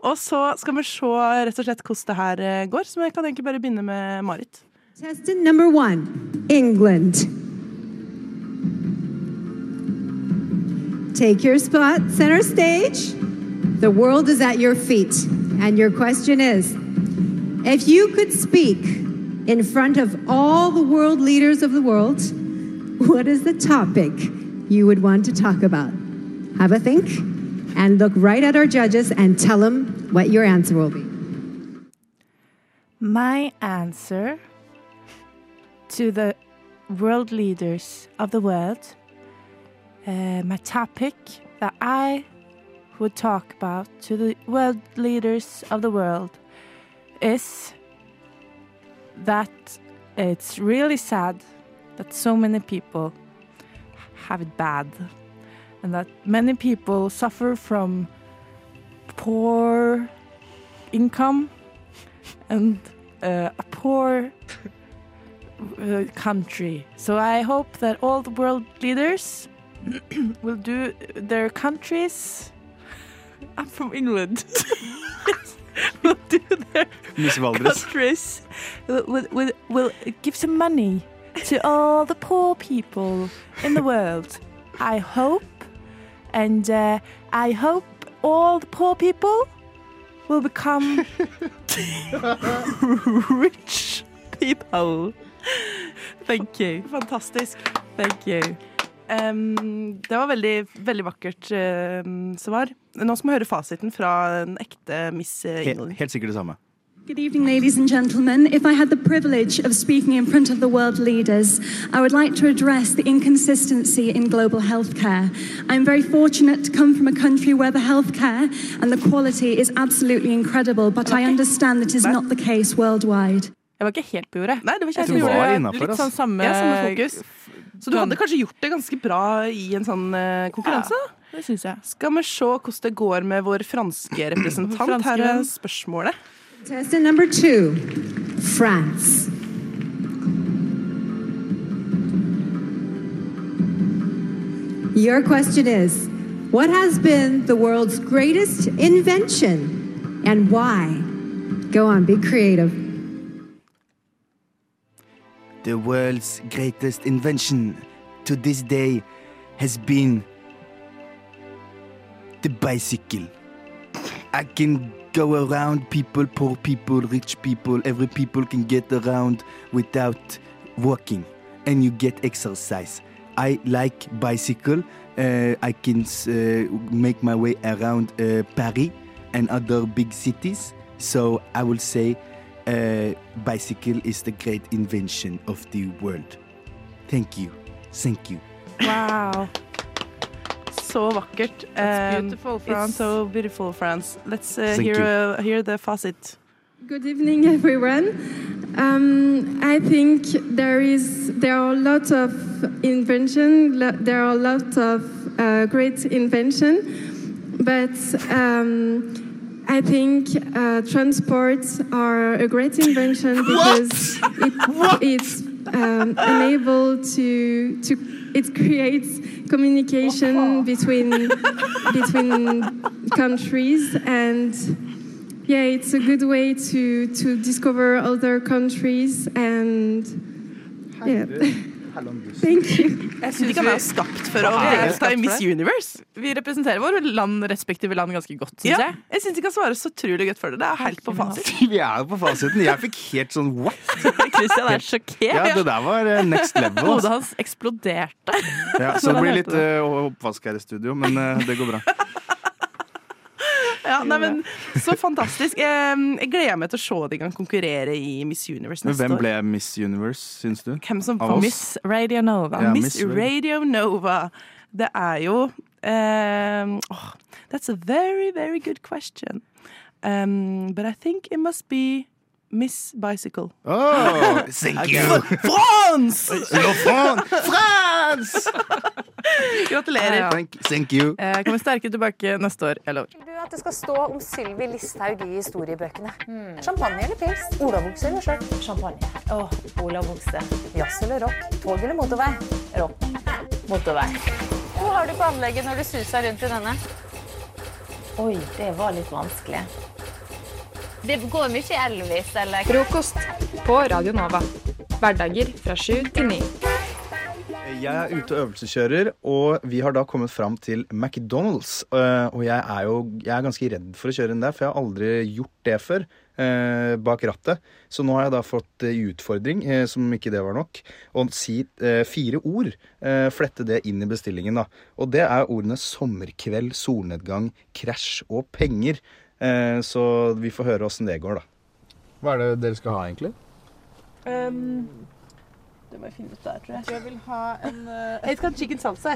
Speaker 17: Og så skal vi se rett og slett hvordan det her eh, går, så vi kan egentlig bare begynne med Marit.
Speaker 18: Contestant number one, England. Take your spot, center stage. The world is at your feet. And your question is if you could speak in front of all the world leaders of the world, what is the topic you would want to talk about? Have a think and look right at our judges and tell them what your answer will be.
Speaker 19: My answer to the world leaders of the world, uh, my topic that I would talk about to the world leaders of the world is that it's really sad that so many people have it bad and that many people suffer from poor income and uh, a poor uh, country. So I hope that all the world leaders will do their countries. I'm from England. will do their
Speaker 7: Miss Valdres.
Speaker 19: countries. Will, will, will, will give some money to all the poor people in the world. I hope, and uh, I hope all the poor people will become rich people. Thank you.
Speaker 17: Fantastisk.
Speaker 19: Thank you.
Speaker 17: Um, det var veldig, veldig vakkert um, svar. Nå skal vi høre fasiten fra en ekte Miss eh,
Speaker 7: Helt,
Speaker 17: Ingrid.
Speaker 7: helt sikkert det samme.
Speaker 20: Good evening, ladies and gentlemen. If I had the privilege of speaking in front of the world leaders, I would like to address the inconsistency in global healthcare. I'm very fortunate to come from a country where the healthcare and the quality is absolutely incredible, but I understand that is not the case worldwide.
Speaker 19: Jeg var ikke helt på jordet.
Speaker 17: Nei, det var
Speaker 19: Du var
Speaker 17: kjempebra.
Speaker 19: innenfor,
Speaker 17: Litt
Speaker 19: altså.
Speaker 17: sånn samme,
Speaker 19: Ja, samme
Speaker 17: fokus. Så du hadde kanskje gjort det ganske bra i en sånn eh, konkurranse?
Speaker 19: det syns jeg.
Speaker 17: Skal vi se hvordan det går med vår franske representant?
Speaker 19: Franske
Speaker 17: Her er
Speaker 19: venn.
Speaker 17: spørsmålet.
Speaker 18: Contestant number two, France. Your question is What has been the world's greatest invention and why? Go on, be creative.
Speaker 21: The world's greatest invention to this day has been the bicycle. I can go around people, poor people, rich people, every people can get around without walking and you get exercise. I like bicycle. Uh, I can uh, make my way around uh, Paris and other big cities. So I will say uh, bicycle is the great invention of the world. Thank you. Thank you.
Speaker 17: Wow. Så vakkert.
Speaker 19: That's
Speaker 17: Um,
Speaker 19: beautiful,
Speaker 17: It's
Speaker 19: France.
Speaker 17: so beautiful, France. Let's uh,
Speaker 21: Thank
Speaker 17: hear,
Speaker 21: you.
Speaker 17: uh, hear the fasit.
Speaker 22: Good evening, everyone. Um, I think there is there are lots of invention. lo- There are lots of uh, great invention, but um, I think uh, transports are a great invention because it, it's um, enabled to to it creates communication between between countries and yeah, it's a good way to to discover other countries and yeah. Thank you.
Speaker 17: Jeg syns de kan være skapt for å
Speaker 19: Hva er det?
Speaker 17: delta i Miss Universe.
Speaker 19: Vi representerer våre land, respektive land ganske godt, syns
Speaker 17: Ja,
Speaker 19: jeg.
Speaker 17: jeg syns de kan svare så utrolig godt for det. Det er helt på fasit.
Speaker 21: Vi er jo på fasiten. Jeg fikk helt sånn what?
Speaker 19: Christian er sjokkert.
Speaker 21: Ja, det der var eh, next level. ass.
Speaker 19: Hodet hans eksploderte.
Speaker 21: Ja, så det blir litt eh, oppvask her i studio, men eh, det går bra.
Speaker 17: Ja, nei, men, så fantastisk. Eh, Jeg gleder meg til å se at de kan konkurrere i Miss Universe
Speaker 21: Men
Speaker 17: neste
Speaker 21: hvem
Speaker 17: år.
Speaker 21: ble Miss Universe, syns du?
Speaker 17: Hvem som
Speaker 21: Av
Speaker 17: får
Speaker 21: oss?
Speaker 17: Miss Radio Nova?
Speaker 21: Ja,
Speaker 17: Miss
Speaker 21: Miss Radio-
Speaker 17: Radio Nova. Det er jo eh, åh, That's a very, very good question. Um, but I think it must be Miss Bicycle.
Speaker 21: Oh, thank you.
Speaker 17: Fr- France!
Speaker 21: Le Fran- France!
Speaker 17: Gratulerer. Eh,
Speaker 21: Thank, thank you.
Speaker 19: Jeg kommer sterkere tilbake neste år. Jeg lover.
Speaker 7: Du at det skal stå om Sylvi Listhaug i historiebøkene. Champagne eller pils? Olavokse eller skjørt? Hmm. Champagne. Åh, Olavokse.
Speaker 17: Eh,
Speaker 7: Jazz eller rock? Tog eller motorvei? Rock. Motorvei. Hva har du på anlegget når du suser rundt i denne? Oi, det var litt vanskelig. Det går mye Elvis, eller?
Speaker 23: Frokost på Radio Nova. Hverdager fra sju til ni.
Speaker 24: Jeg er ute og øvelseskjører, og vi har da kommet fram til McDonald's. Eh, Og jeg er jo jeg er ganske redd for å kjøre inn der, for jeg har aldri gjort det før. eh, Bak rattet. Så nå har jeg da fått eh, i utfordring, eh, som ikke det var nok, å si eh, fire ord. eh, Flette det inn i bestillingen, da. Og det er ordene sommerkveld, solnedgang, krasj og penger. Eh, Så vi får høre åssen det går, da. Hva er det dere skal ha, egentlig?
Speaker 17: det må jeg finne ut der, tror jeg. Jeg vil ha en eh, Jeg skal ha chicken salsa.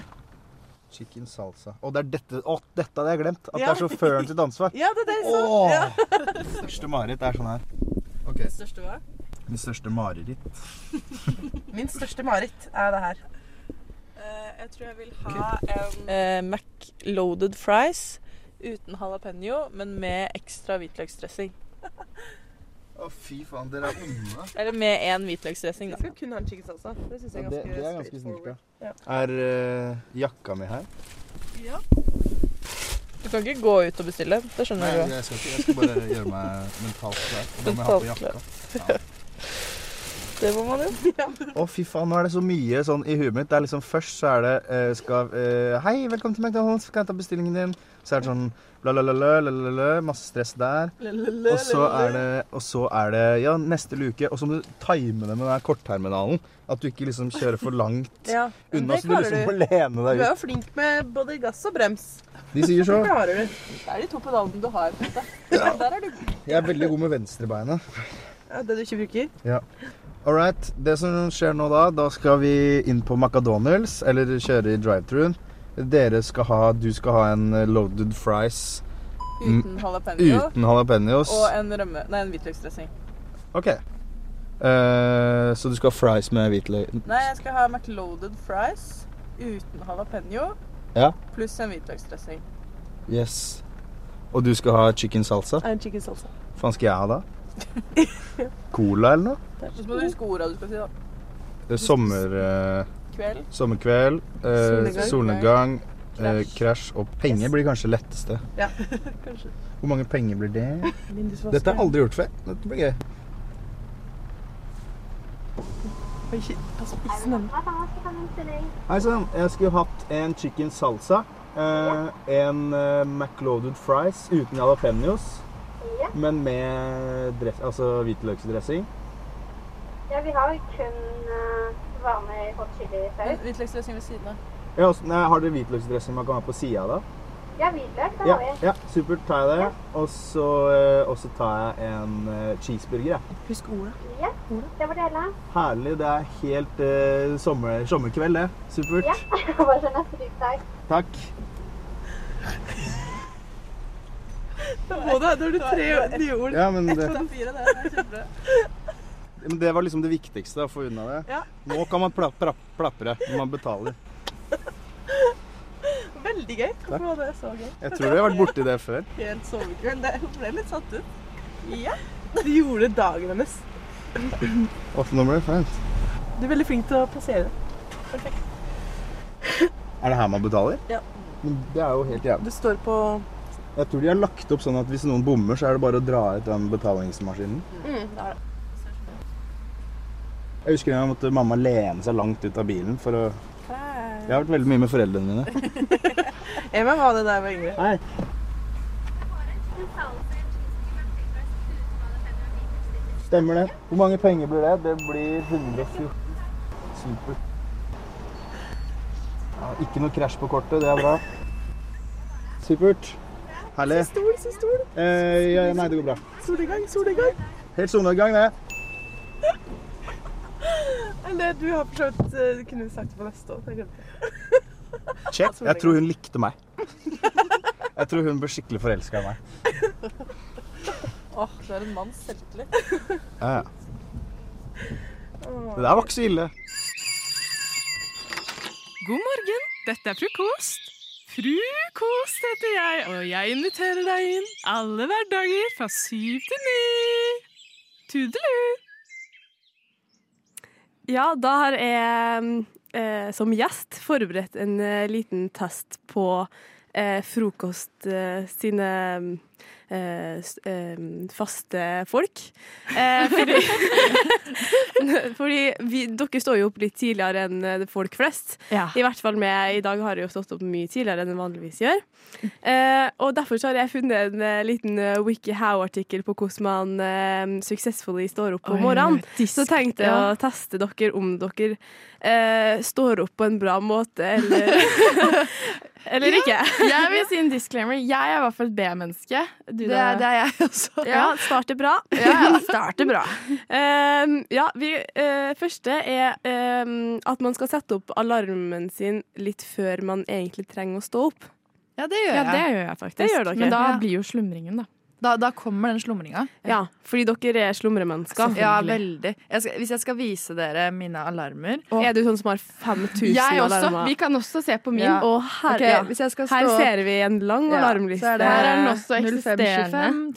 Speaker 24: Chicken salsa. Og det er dette Å, dette hadde jeg glemt! At
Speaker 17: Ja.
Speaker 24: det er sjåføren sitt ansvar.
Speaker 17: Ja, det er det jeg sa.
Speaker 24: Åh.
Speaker 17: Ja.
Speaker 24: Største mareritt er sånn her. Ok.
Speaker 17: Største hva?
Speaker 24: Min største mareritt.
Speaker 17: Min største mareritt er det her. jeg tror jeg vil ha en Mac loaded Eh, fries uten jalapeño, men med ekstra hvitløksdressing.
Speaker 24: Å, fy faen, dere er onde.
Speaker 17: Eller med én hvitløksdressing, da. Jeg skal kun ha en chicken salsa. Det syns
Speaker 24: Ja, det, det er ganske snilt, ja.
Speaker 17: Ja.
Speaker 24: Er eh, jakka mi her?
Speaker 17: Du kan ikke gå ut og bestille. Det skjønner
Speaker 24: Nei,
Speaker 17: du.
Speaker 24: jeg skal ikke. Jeg skal bare gjøre meg mentalt klar. Og da må jeg ha på jakka.
Speaker 17: Det må man jo.
Speaker 24: Å, fy faen, nå er det så mye sånn i huet mitt. Det er liksom først så er det eh, skal, eh, Hei, velkommen til McDonald's, kan jeg ta bestillingen din? Så er det sånn la-la-la-la, la-la-la, masse stress der. Og så er det, og så er det ja, neste luke. Og så må du time det med den her kortterminalen. At du ikke liksom kjører for langt
Speaker 17: Ja, men
Speaker 24: unna,
Speaker 17: det
Speaker 24: så du
Speaker 17: klarer
Speaker 24: liksom
Speaker 17: du.
Speaker 24: får lene
Speaker 17: Du
Speaker 24: deg
Speaker 17: er jo
Speaker 24: ut.
Speaker 17: flink med både gass og brems.
Speaker 24: De sier så.
Speaker 17: Det klarer du. Det er de to pedalene du har. på en måte. Der er du.
Speaker 24: Jeg er veldig god med venstrebeinet.
Speaker 17: Ja, det du ikke bruker.
Speaker 24: Ja. All right. Det som skjer nå da, da skal vi inn på McDonald's, eller kjøre i drive-thruen. Dere skal ha Du skal ha en eh, loaded fries
Speaker 17: Uten
Speaker 24: Mm,
Speaker 17: jalapeño.
Speaker 24: Uten jalapeños.
Speaker 17: Og en rømme... Nei, en hvitløksdressing.
Speaker 24: OK. Eh, så du skal ha fries med hvitløk
Speaker 17: Nei, jeg skal ha McLoaded fries uten jalapeño
Speaker 24: Ja.
Speaker 17: pluss en hvitløksdressing.
Speaker 24: Yes. Og du skal ha chicken salsa?
Speaker 17: Nei, En chicken salsa.
Speaker 24: Hva faen skal jeg ha da? Cola eller noe?
Speaker 17: Så må du huske orda du skal si, da.
Speaker 24: Eh, Sommer... eh,
Speaker 17: Kveld.
Speaker 24: sommerkveld. eh,
Speaker 17: Solnedgang.
Speaker 24: solnedgang. eh, Krasj. og penger blir kanskje letteste.
Speaker 17: Ja, kanskje.
Speaker 24: Hvor mange penger blir det?
Speaker 17: Vindusvasker.
Speaker 24: Dette har jeg aldri gjort før. Dette blir gøy.
Speaker 17: Oi, shit. Pass på spissen ennå.
Speaker 24: Hei sann, jeg skulle hatt en chicken salsa. Eh, en eh, McLoaded fries uten jalapeños. Men med dress, altså hvitløksdressing.
Speaker 25: Ja, vi har kun eh, varme hot chili saus.
Speaker 17: Hvitløksdressing ved siden av.
Speaker 24: Ja, og s- nei, har dere hvitløksdressing man kan ha på sida da?
Speaker 25: Ja, hvitløk, det
Speaker 24: Ja,
Speaker 25: har vi.
Speaker 24: ja, supert. Tar jeg det. Og så eh, og så tar jeg en eh, cheeseburger. jeg.
Speaker 17: Husk orda.
Speaker 25: Ja, det var det hele.
Speaker 24: Herlig. Det er helt eh, sommer, sommerkveld, det. Supert.
Speaker 25: Ja, bare neste dag.
Speaker 24: Takk.
Speaker 17: Da må du ha da har du tre nye ord.
Speaker 24: Ja, men det-
Speaker 17: Ett av de fire, det er kjempebra.
Speaker 24: Men det var liksom det viktigste, å få unna det.
Speaker 17: Ja.
Speaker 24: Nå kan man pla pra plapre når man betaler.
Speaker 17: Veldig gøy. Hvorfor var det så gøy?
Speaker 24: Jeg tror vi har vært borti det før.
Speaker 17: Helt sovekveld. Det- Hun ble litt satt ut. Ja. Du gjorde dagen hennes.
Speaker 24: Åh, nå ble det fint.
Speaker 17: Du er veldig flink til å plassere det. Perfekt.
Speaker 24: Er det her man betaler?
Speaker 17: Ja.
Speaker 24: Men det er jo helt
Speaker 17: Du
Speaker 24: jævlig.
Speaker 17: står på
Speaker 24: Jeg tror de har lagt opp sånn at hvis noen bommer, så er det bare å dra ut den betalingsmaskinen.
Speaker 17: mm, det er det.
Speaker 24: Jeg husker en gang måtte mamma lene seg langt ut av bilen for å Jeg har vært veldig mye med foreldrene mine.
Speaker 17: Jeg må ha det der med Ingrid.
Speaker 24: Nei. Stemmer det. Hvor mange penger blir det? Det blir 114. Supert. Ja, ikke noe krasj på kortet, det er bra. Supert. Herlig.
Speaker 17: Stol, så stol.
Speaker 24: Eh, ja, nei, det går bra.
Speaker 17: Solnedgang, solnedgang.
Speaker 24: Helt solnedgang, det.
Speaker 17: Eller du har for så vidt eh, Du kunne sagt det på neste år. Jeg glemte.
Speaker 24: Check. Jeg tror hun likte meg. Jeg tror hun ble skikkelig forelska i meg.
Speaker 17: Åh, du er en manns selvtillit.
Speaker 24: Ja, ja. Det der var ikke så ille.
Speaker 26: God morgen, dette er frokost. Frukost heter jeg, og jeg inviterer deg inn alle hverdager fra syv til ni. Tudelu!
Speaker 9: Ja, da har jeg eh, som gjest forberedt en eh, liten test på eh, frokost eh, sine eh, s- eh, faste folk. Eh, fordi fordi vi, dere står jo opp litt tidligere enn eh, folk flest.
Speaker 26: Ja.
Speaker 9: I hvert fall med i dag har jeg jo stått opp mye tidligere enn jeg vanligvis gjør. Eh, og derfor så har jeg funnet en eh, liten eh, WikiHow-artikkel på hvordan man eh, successfully står opp
Speaker 26: Oi,
Speaker 9: om morgenen.
Speaker 26: disk,
Speaker 9: så tenkte jeg
Speaker 26: ja.
Speaker 9: å teste dere om dere eh, står opp på en bra måte, eller, eller ikke.
Speaker 26: jeg vil si en disclaimer. Jeg er i hvert fall et B-menneske. Du,
Speaker 9: Det
Speaker 26: da?
Speaker 9: er, det er jeg også.
Speaker 26: Ja.
Speaker 9: starter bra.
Speaker 26: Ja, ja, starter bra.
Speaker 9: Ehm, ja, vi, eh, første er ehm, at man skal sette opp alarmen sin litt før man egentlig trenger å stå opp.
Speaker 26: Ja, det gjør
Speaker 9: Ja,
Speaker 26: jeg.
Speaker 9: det gjør jeg faktisk.
Speaker 26: Det gjør dere. Men da
Speaker 9: Ja.
Speaker 26: blir jo slumringen, da. Da, kommer den slumringa.
Speaker 9: Ja, fordi dere er slumremennesker.
Speaker 26: Ja, veldig. Jeg skal, hvis jeg skal vise dere mine alarmer
Speaker 9: Er du sånn som har 5000
Speaker 26: Jeg også.
Speaker 9: alarmer?
Speaker 26: Vi kan også se på min.
Speaker 9: Ja. Å, herre,
Speaker 26: Ok,
Speaker 9: ja.
Speaker 26: hvis jeg skal
Speaker 9: Her
Speaker 26: stå-
Speaker 9: ser vi en lang
Speaker 26: Ja,
Speaker 9: alarmliste.
Speaker 26: så er det- Her er den også
Speaker 9: 05,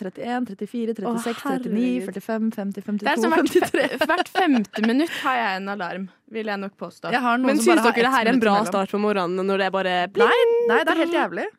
Speaker 26: 31, 34,
Speaker 9: 36, 39,
Speaker 26: 45, 50, 52, Det er som hvert, fe- hvert femte minutt har jeg en alarm, vil jeg nok påstå.
Speaker 9: Men syns dere det her er en bra start på morgenen når det er bare
Speaker 26: Nei, nei, det er helt jævlig.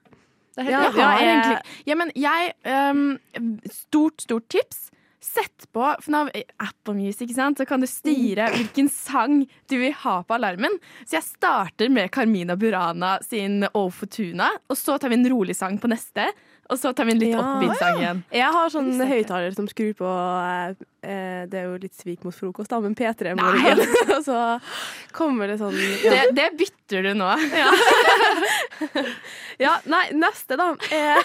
Speaker 26: Det er helt,
Speaker 9: Ja,
Speaker 26: jeg har
Speaker 9: ja, jeg-
Speaker 26: egentlig ja, men jeg, ehm, Stort, stort tips. Sett på for nå, har vi Apple Music, ikke sant? så kan du
Speaker 9: Mm.
Speaker 26: styre hvilken sang du vil ha på alarmen. Så jeg starter med Carmina Burana sin O Fortuna, og så tar vi en rolig sang på neste. Og så tar vi en litt
Speaker 9: Ja.
Speaker 26: oppbeat-sang igjen.
Speaker 9: Jeg har sånn høyttaler som skrur på eh, Det er jo litt svik mot frokost, da, men P3 i morgen. Og så kommer det sånn
Speaker 26: Det, det bytter du nå.
Speaker 9: Ja. ja, nei, neste, da. Er,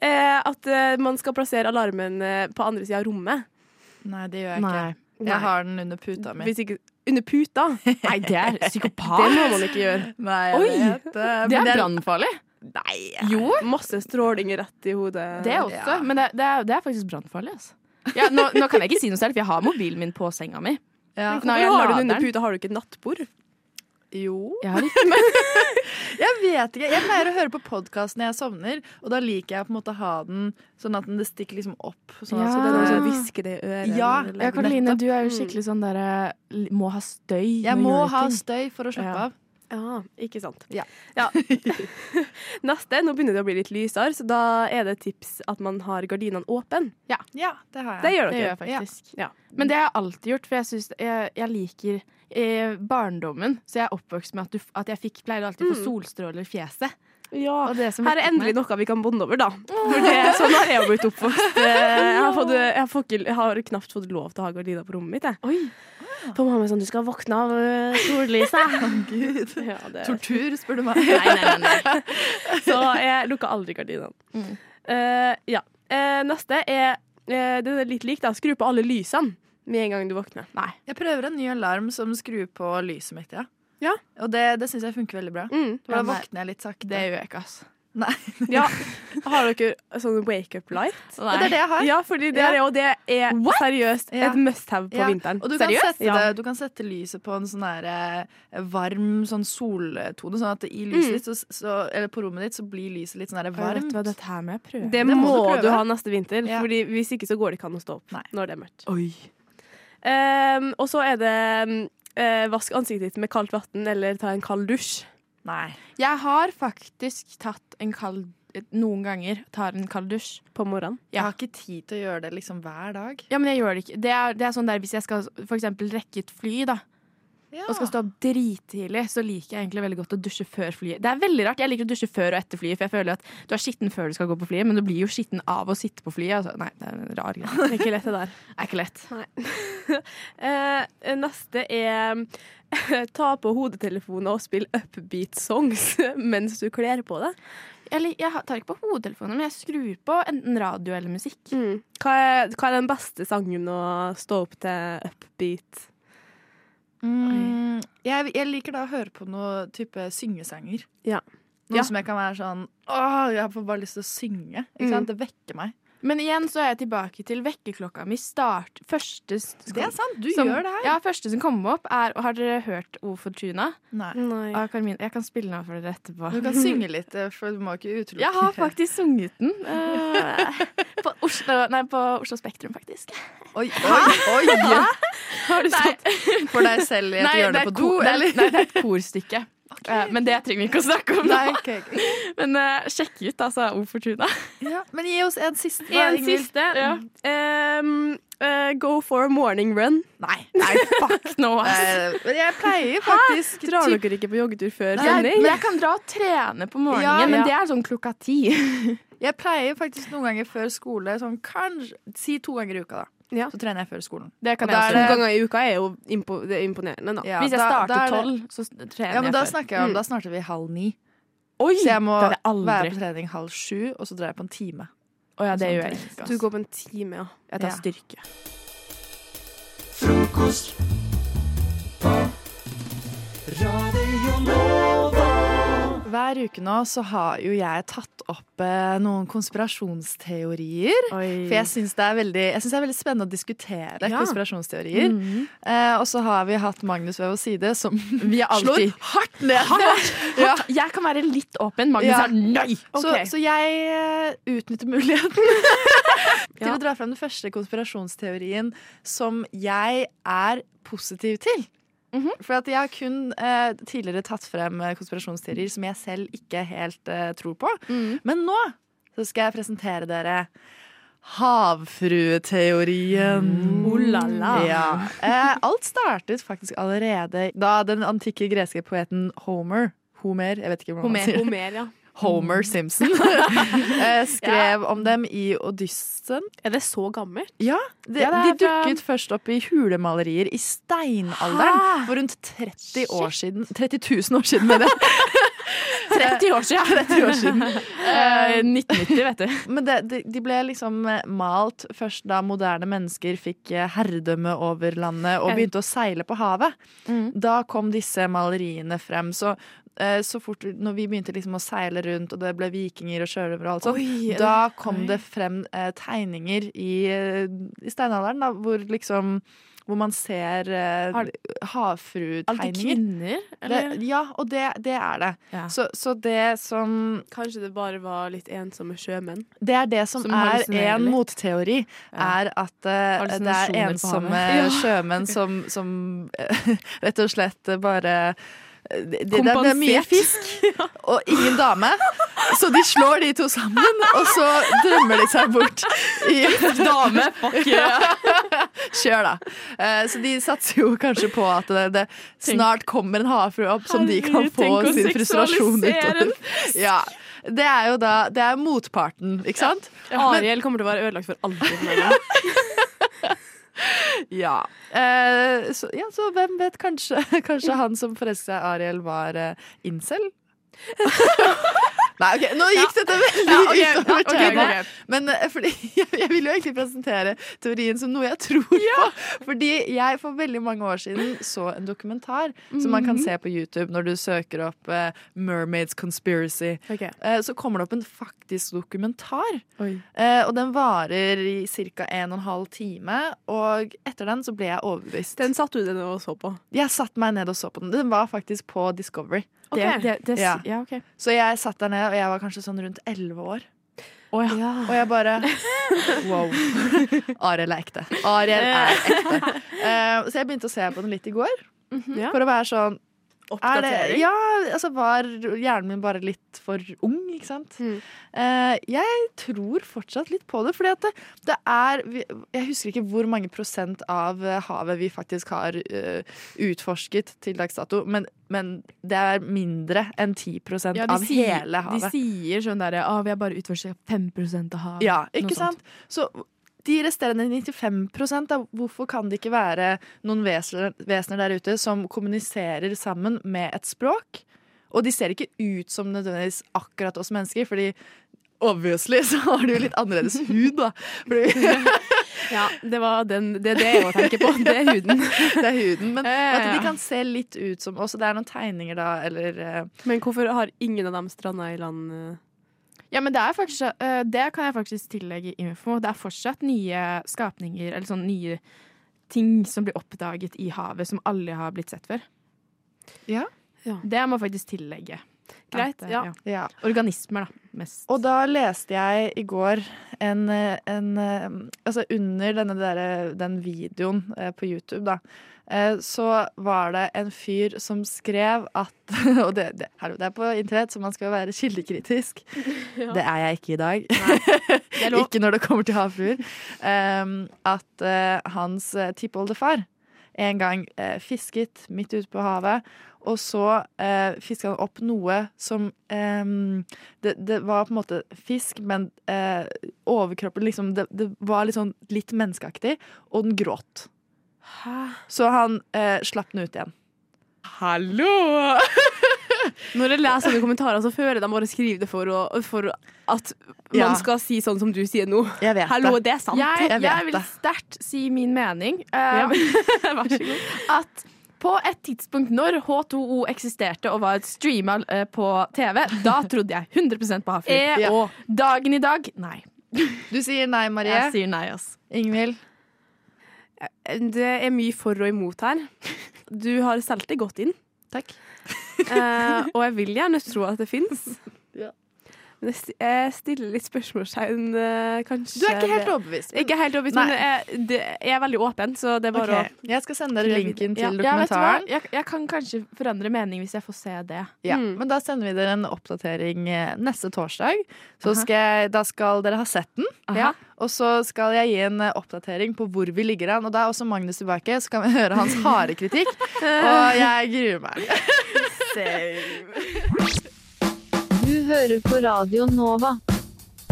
Speaker 9: er at eh, man skal plassere alarmen eh, på andre sida av rommet.
Speaker 26: Nei, det gjør jeg
Speaker 9: Nei.
Speaker 26: ikke. Jeg har den under puta mi.
Speaker 9: Hvis ikke Under puta?
Speaker 26: Nei, det er psykopat!
Speaker 9: Det må man ikke gjøre.
Speaker 26: Nei, jeg
Speaker 9: Oi!
Speaker 26: vet det, men
Speaker 9: Det er
Speaker 26: det er
Speaker 9: brannfarlig.
Speaker 26: Nei.
Speaker 9: Jo. Masse stråling rett i hodet.
Speaker 26: Det også,
Speaker 9: Ja.
Speaker 26: men det, det, er, det er faktisk brannfarlig. Altså. Ja, nå, nå kan jeg ikke si noe selv, for jeg har mobilen min på senga mi.
Speaker 9: Men
Speaker 26: Nå
Speaker 9: Hvorfor
Speaker 26: jeg
Speaker 9: har du
Speaker 26: lader
Speaker 9: den under
Speaker 26: den.
Speaker 9: puta? Har du ikke nattbord?
Speaker 26: Jo. Jeg har ikke Jeg vet ikke. Jeg pleier å høre på podkast når jeg sovner, og da liker jeg på en måte å ha den sånn at den- det stikker liksom opp. Sånn
Speaker 9: Ja.
Speaker 26: at
Speaker 9: Så det er noen som hvisker det i
Speaker 26: Ja,
Speaker 9: øret, eller
Speaker 26: ja
Speaker 9: legger-
Speaker 26: Karoline,
Speaker 9: Nettopp.
Speaker 26: du er jo
Speaker 9: Mm.
Speaker 26: skikkelig sånn derre må ha støy.
Speaker 9: Jeg
Speaker 26: når
Speaker 9: må
Speaker 26: du gjør
Speaker 9: ha
Speaker 26: ting.
Speaker 9: støy for å slappe
Speaker 26: Ja.
Speaker 9: av. Ja, ikke sant. Ja. Neste, nå begynner det å bli litt lysere, så da er det et tips at man har gardinene åpne.
Speaker 26: Ja. det har jeg.
Speaker 9: Det gjør dere.
Speaker 26: jeg faktisk.
Speaker 9: Ja.
Speaker 26: Men det har jeg alltid gjort, for jeg, synes, jeg, jeg liker eh, barndommen. Så jeg er oppvokst med at, du, at jeg fikk, pleier alltid å få
Speaker 9: Mm.
Speaker 26: solstråler i fjeset.
Speaker 9: Ja,
Speaker 26: Og det som
Speaker 9: her er
Speaker 26: vekket
Speaker 9: endelig
Speaker 26: meg.
Speaker 9: noe vi kan bonde over, da. For det, sånn har jeg jo blitt oppvokst. Eh, Jeg har, fått, jeg, får ikke, jeg har knapt fått lov til å ha gardiner på rommet mitt. Jeg. For mamma er sånn 'du skal våkne av eh, sollyset'. ja, det-
Speaker 26: Tortur, spør du meg.
Speaker 9: nei, nei, nei, nei. Så jeg lukker aldri gardinene. Eh, ja. Eh, neste er eh, Den er litt lik, da. Skru på alle lysene med en gang du våkner. Nei.
Speaker 26: Jeg prøver en ny alarm som skrur på lyset mitt, ja.
Speaker 9: Ja. Mm.
Speaker 26: Og det, det syns jeg funker veldig bra. For da
Speaker 9: Ja, nei.
Speaker 26: våkner jeg litt sakte. Det gjør jeg ikke, altså.
Speaker 9: Nei. Ja. Har dere sånn wake-up light?
Speaker 26: Ja, det er det jeg har.
Speaker 9: Ja, fordi det
Speaker 26: Ja.
Speaker 9: er, det, og det er
Speaker 26: What?
Speaker 9: seriøst
Speaker 26: Ja.
Speaker 9: et must-have på
Speaker 26: Ja.
Speaker 9: vinteren.
Speaker 26: Og du kan,
Speaker 9: seriøst?
Speaker 26: sette det, du kan sette lyset på en sånn der, eh, varm sånn soltone, sånn at i
Speaker 9: Mm.
Speaker 26: lyset ditt, så, så, eller på rommet ditt så blir lyset litt sånn der
Speaker 9: Vet
Speaker 26: varmt.
Speaker 9: du hva, dette her må jeg prøve. Det,
Speaker 26: Det
Speaker 9: må,
Speaker 26: må du
Speaker 9: du,
Speaker 26: prøve.
Speaker 9: ha neste vinter,
Speaker 26: Ja.
Speaker 9: Fordi hvis ikke så går det ikke an å stå opp når det er mørkt. Ehm, og så er det eh, vask ansiktet ditt med kaldt vann eller ta en kald dusj.
Speaker 26: Nei. Jeg har faktisk tatt en kald noen ganger tar en kald dusj.
Speaker 9: På morgenen?
Speaker 26: Jeg har ikke tid til å gjøre det liksom hver dag. Ja, men jeg gjør det ikke. Det er, det er sånn der hvis jeg skal for eksempel rekke et fly, da. Og skal stå opp drittidlig, så liker jeg egentlig veldig godt å dusje før flyet. Det er veldig rart. Jeg liker å dusje før og etter flyet, for jeg føler at du er skitten før du skal gå på flyet, men du blir jo skitten av å sitte på flyet. Altså, nei, det er en rar greie.
Speaker 9: Det er ikke lett, det der.
Speaker 26: Det er ikke lett.
Speaker 9: Eh, neste er eh, ta på hodetelefonen og spill upbeat songs mens du kler på deg.
Speaker 26: Jeg, tar ikke på hodetelefonen, men jeg skrur på enten radio eller musikk.
Speaker 9: Mm. Hva, er, hva er den beste sangen å stå opp til upbeat?
Speaker 26: Mm, jeg, jeg liker da å høre på noe type syngesanger.
Speaker 9: Ja.
Speaker 26: Noe
Speaker 9: Ja.
Speaker 26: som jeg kan være sånn Åh, jeg får bare lyst til å synge. Ikke
Speaker 9: Mm.
Speaker 26: sant? Det vekker meg. Men igjen så er jeg tilbake til vekkerklokka mi. Start, første
Speaker 9: Det er sant, du gjør det her.
Speaker 26: Ja, første som kommer opp, er Har dere hørt O Fortuna?
Speaker 9: Nei. Nei.
Speaker 26: Av Carmine. Jeg kan spille den av for dere etterpå.
Speaker 9: Du kan synge
Speaker 26: litt, eh, for du må ikke utelukke Jeg har faktisk sunget den. eh, på, Oslo, nei, på Oslo Spektrum, faktisk. Oi,
Speaker 9: oi, oi.
Speaker 26: Har du stått
Speaker 9: for deg selv i et hjørne på do, eller?
Speaker 26: Nei, det er et korstykke. Eh, Men det trenger vi ikke å snakke om nå.
Speaker 9: Nei, ok,
Speaker 26: Men eh, sjekk ut, altså, O Fortuna.
Speaker 9: Men gi oss en siste.
Speaker 26: da,
Speaker 9: En
Speaker 26: Ingvild.
Speaker 9: siste.
Speaker 26: Ja.
Speaker 9: Ehm, eh, go for a morning run.
Speaker 26: Nei,
Speaker 9: fuck nå,
Speaker 26: ass.
Speaker 9: Jeg pleier faktisk Hæ? Drar dere ikke på joggetur før
Speaker 26: Jeg,
Speaker 9: sending?
Speaker 26: men jeg kan dra og trene på morgenen,
Speaker 9: Ja,
Speaker 26: men
Speaker 9: ja.
Speaker 26: det er sånn klokka ti. Jeg pleier faktisk noen ganger før skole, sånn kanskje Si to ganger i uka, da. Så trener jeg før skolen.
Speaker 9: Det kan
Speaker 26: Og
Speaker 9: jeg
Speaker 26: da
Speaker 9: også.
Speaker 26: er det-
Speaker 9: To ganger i uka er jo impo det er imponerende, da.
Speaker 26: Ja, da- da er det- ja, men da snakker jeg om, da starter vi halv ni. så jeg må
Speaker 9: det Mm. er det aldri.
Speaker 26: være på trening halv sju, og så drar jeg på en time.
Speaker 9: Å ja, det
Speaker 26: Sånn
Speaker 9: gjør jeg
Speaker 26: trening,
Speaker 9: ikke.
Speaker 26: ass.
Speaker 9: Du går på en time, ja.
Speaker 26: Jeg tar
Speaker 9: styrke.
Speaker 21: Frokost
Speaker 26: Radio Hver uke nå så har jo jeg tatt opp eh, noen konspirasjonsteorier. For jeg syns det, er veldig- jeg synes det er veldig spennende å diskutere
Speaker 9: Ja.
Speaker 26: konspirasjonsteorier.
Speaker 2: Mm.
Speaker 9: Mhm.
Speaker 26: eh, og så har vi hatt Magnus ved vår side, som
Speaker 9: alltid-
Speaker 26: slår hardt ned.
Speaker 9: Hardt!
Speaker 26: Ja.
Speaker 9: Jeg kan være litt åpen. Magnus
Speaker 26: Ja.
Speaker 9: er sånn, nei! Ok.
Speaker 26: Så, så jeg eh, utnytter muligheten til å dra frem den første konspirasjonsteorien som jeg er positiv til.
Speaker 9: Mhm.
Speaker 26: For at jeg har kun eh, tidligere tatt frem eh, konspirasjonsteorier som jeg selv ikke helt eh, tror på.
Speaker 9: Mhm.
Speaker 26: Men nå så skal jeg presentere dere havfrueteorien.
Speaker 17: Mm.
Speaker 9: Oh la la.
Speaker 26: Ja. Eh, alt startet faktisk allerede da den antikke greske poeten Homer Homer, jeg vet ikke hvordan man
Speaker 9: Homer,
Speaker 26: sier det.
Speaker 9: Homer, ja.
Speaker 26: Homer Simpson eh, skrev om dem i Odyssen.
Speaker 9: Er det så gammelt?
Speaker 26: Ja, det,
Speaker 9: Ja, det
Speaker 26: De
Speaker 9: er fra-
Speaker 26: dukket først opp i hulemalerier i steinalderen for rundt 30 år siden. 30 000 år siden, mener jeg.
Speaker 9: 30 år siden.
Speaker 26: 30 år siden.
Speaker 9: Eh, 1990,
Speaker 26: vet du. Men det, de, de ble liksom eh, malt først da moderne mennesker fikk eh, herredømme over landet og
Speaker 9: Ja.
Speaker 26: begynte å seile på havet.
Speaker 9: Mm.
Speaker 26: Da kom disse maleriene frem. Så, eh, så fort vi- når vi begynte liksom å seile rundt, og det ble vikinger og sjørøvere og alt sånt,
Speaker 9: Oi, er det-
Speaker 26: da kom det frem eh, tegninger i, eh, i steinalderen, da, hvor liksom hvor man ser eh,
Speaker 9: Har-
Speaker 26: havfruetegninger.
Speaker 9: Alt i kvinner, eller?
Speaker 26: Det, ja, og det, det er det. Så, så det som
Speaker 9: Kanskje det bare var litt ensomme sjømenn?
Speaker 26: det er det som,
Speaker 9: Som
Speaker 26: er
Speaker 9: hallusinerer
Speaker 26: en
Speaker 9: litt.
Speaker 26: motteori, er at eh, det
Speaker 9: Hallusinasjoner
Speaker 26: er
Speaker 9: på
Speaker 26: ensomme
Speaker 9: havet. Ja.
Speaker 26: sjømenn som, som eh, rett og slett eh, bare det, det, det er mye
Speaker 9: Kompensert.
Speaker 26: fisk og ingen dame, så de slår de to sammen, og så drømmer de seg bort. i-
Speaker 9: Dame, fuck yeah.
Speaker 26: Kjør, da. Eh, Så de satser jo kanskje på at det, det snart kommer en havfrue opp som de kan
Speaker 9: Herregud,
Speaker 26: få
Speaker 9: tenk å
Speaker 26: sin frustrasjon
Speaker 9: seksualisere en
Speaker 26: utover. Ja. Det er jo da Det er motparten, ikke sant?
Speaker 9: Ariel kommer til å være ødelagt for aldri.
Speaker 26: Ja. Eh, så, ja, så hvem vet? Kanskje, kanskje han som forelsket seg i Ariel, var eh, incel? Nei, ok, nå gikk dette veldig
Speaker 19: Ja, ok, ja,
Speaker 26: utover
Speaker 19: ok,
Speaker 26: temaet.
Speaker 19: greit.
Speaker 26: Men eh, fordi jeg, jeg vil jo egentlig presentere teorien som noe jeg tror på. Fordi jeg for veldig mange år siden så en dokumentar som man kan
Speaker 19: Mhm.
Speaker 26: se på YouTube når du søker opp eh, 'Mermaids Conspiracy'. Eh, så kommer det opp en faktisk dokumentar. Eh, og den varer i ca. en og en halv time. Og etter den så ble jeg overbevist. Den satt du ned og så på? Jeg satt meg ned og så på den. Den var faktisk på Discovery.
Speaker 9: Ok. Det- det- det- ja, ok.
Speaker 26: Så jeg satt der nede, og jeg var kanskje sånn rundt 11 år. Og jeg bare Wow. Ariel er ekte. Ariel er ekte. Eh, så jeg begynte å se på den litt i går.
Speaker 9: Mhm.
Speaker 19: Ja.
Speaker 26: For å være sånn er det,
Speaker 19: Oppdatering?
Speaker 26: ja, altså var hjernen min bare litt for ung, ikke sant?
Speaker 9: Mm.
Speaker 26: Eh, jeg tror fortsatt litt på det, fordi at det, det er vi- Jeg husker ikke hvor mange prosent av eh, havet vi faktisk har eh, utforsket til dags dato, men, men det er mindre enn 10
Speaker 9: Ja, de
Speaker 26: av
Speaker 9: sier-
Speaker 26: hele havet.
Speaker 9: De sier sånn derre Å, vi har bare utforsket 5 av havet.
Speaker 26: Ja,
Speaker 9: Ah, Noe
Speaker 26: ikke sant? Så de resterende 95 da, hvorfor kan det ikke være noen vesener, vesener der ute som kommuniserer sammen med et språk? Og de ser ikke ut som nødvendigvis akkurat oss mennesker, fordi obviously så har de jo litt annerledes hud, da. ja, det var det
Speaker 9: er det jeg også tenker på. Det er
Speaker 26: huden. det er huden, Men
Speaker 9: ja,
Speaker 26: at
Speaker 9: ja.
Speaker 26: de kan se litt ut som oss. og Det er noen tegninger da, eller eh,
Speaker 5: Men hvorfor har ingen av dem stranda i land? eh?
Speaker 9: Ja, men det er faktisk eh, Det kan jeg faktisk tillegge info. Det er fortsatt nye skapninger, eller sånn nye ting som blir oppdaget i havet, som alle har blitt sett før.
Speaker 26: Ja.
Speaker 9: Det må jeg faktisk tillegge.
Speaker 26: Greit,
Speaker 9: eh,
Speaker 26: ja. Ja.
Speaker 9: Organismer, da. Mest.
Speaker 26: Og da leste jeg i går en, eh, en eh, Altså under denne derre- den videoen eh, på YouTube, da, eh, så var det en fyr som skrev at Og det, det, hallo, det er på internett, så man skal være kildekritisk.
Speaker 19: Ja.
Speaker 26: Det er jeg ikke i dag. ikke når det kommer til havfruer. Um, at eh, hans eh, tippoldefar en gang eh, fisket midt ute på havet, og så uh, fiska han opp noe som em, det, det var på en måte fisk, men eh, overkroppen liksom det, det var litt sånn litt menneskeaktig, og den gråt. Så han eh, slapp den ut igjen. Hallo!
Speaker 5: Når jeg leser sånne kommentarer, så føler jeg de bare skriver det for, å, for at
Speaker 9: Ja.
Speaker 5: man skal si sånn som du sier nå.
Speaker 9: vet
Speaker 5: Hallo,
Speaker 9: det.
Speaker 5: det er sant.
Speaker 9: Jeg, jeg, vil sterkt si min mening. eh, at på et tidspunkt når H2O eksisterte og var streama eh, på TV, da trodde jeg 100 på havfrue.
Speaker 26: Eh, Ja.
Speaker 9: Og dagen i dag nei.
Speaker 26: Du sier nei, Marie.
Speaker 9: Jeg sier nei, altså. ass.
Speaker 26: Ingvild?
Speaker 5: Eh, Det er mye for og imot her. Du har solgt det godt inn. Eh,
Speaker 26: Takk.
Speaker 5: og jeg vil gjerne tro at det fins.
Speaker 26: Ja.
Speaker 5: Men jeg sti- jeg stiller litt spørsmålstegn, eh, kanskje.
Speaker 26: Du er ikke helt
Speaker 5: ved-
Speaker 26: overbevist, men-
Speaker 5: Ikke helt overbevist,
Speaker 26: Nei.
Speaker 5: men jeg, det, jeg er veldig åpen, så det er bare
Speaker 26: Ok, Jeg skal sende dere linken til
Speaker 9: Ja. Ja, vet du hva?
Speaker 26: dokumentaren.
Speaker 9: jeg, jeg kan kanskje forandre mening hvis jeg får se det.
Speaker 26: Ja,
Speaker 5: Mm.
Speaker 26: Men da sender vi dere en oppdatering eh, neste torsdag. Så
Speaker 9: Aha.
Speaker 26: skal jeg, da skal dere ha sett den.
Speaker 9: Aha.
Speaker 26: Og så skal jeg gi en eh, oppdatering på hvor vi ligger an. Og da er også Magnus tilbake, så kan vi høre hans harde kritikk. Og jeg gruer meg.
Speaker 27: Du hører på Radio Nova.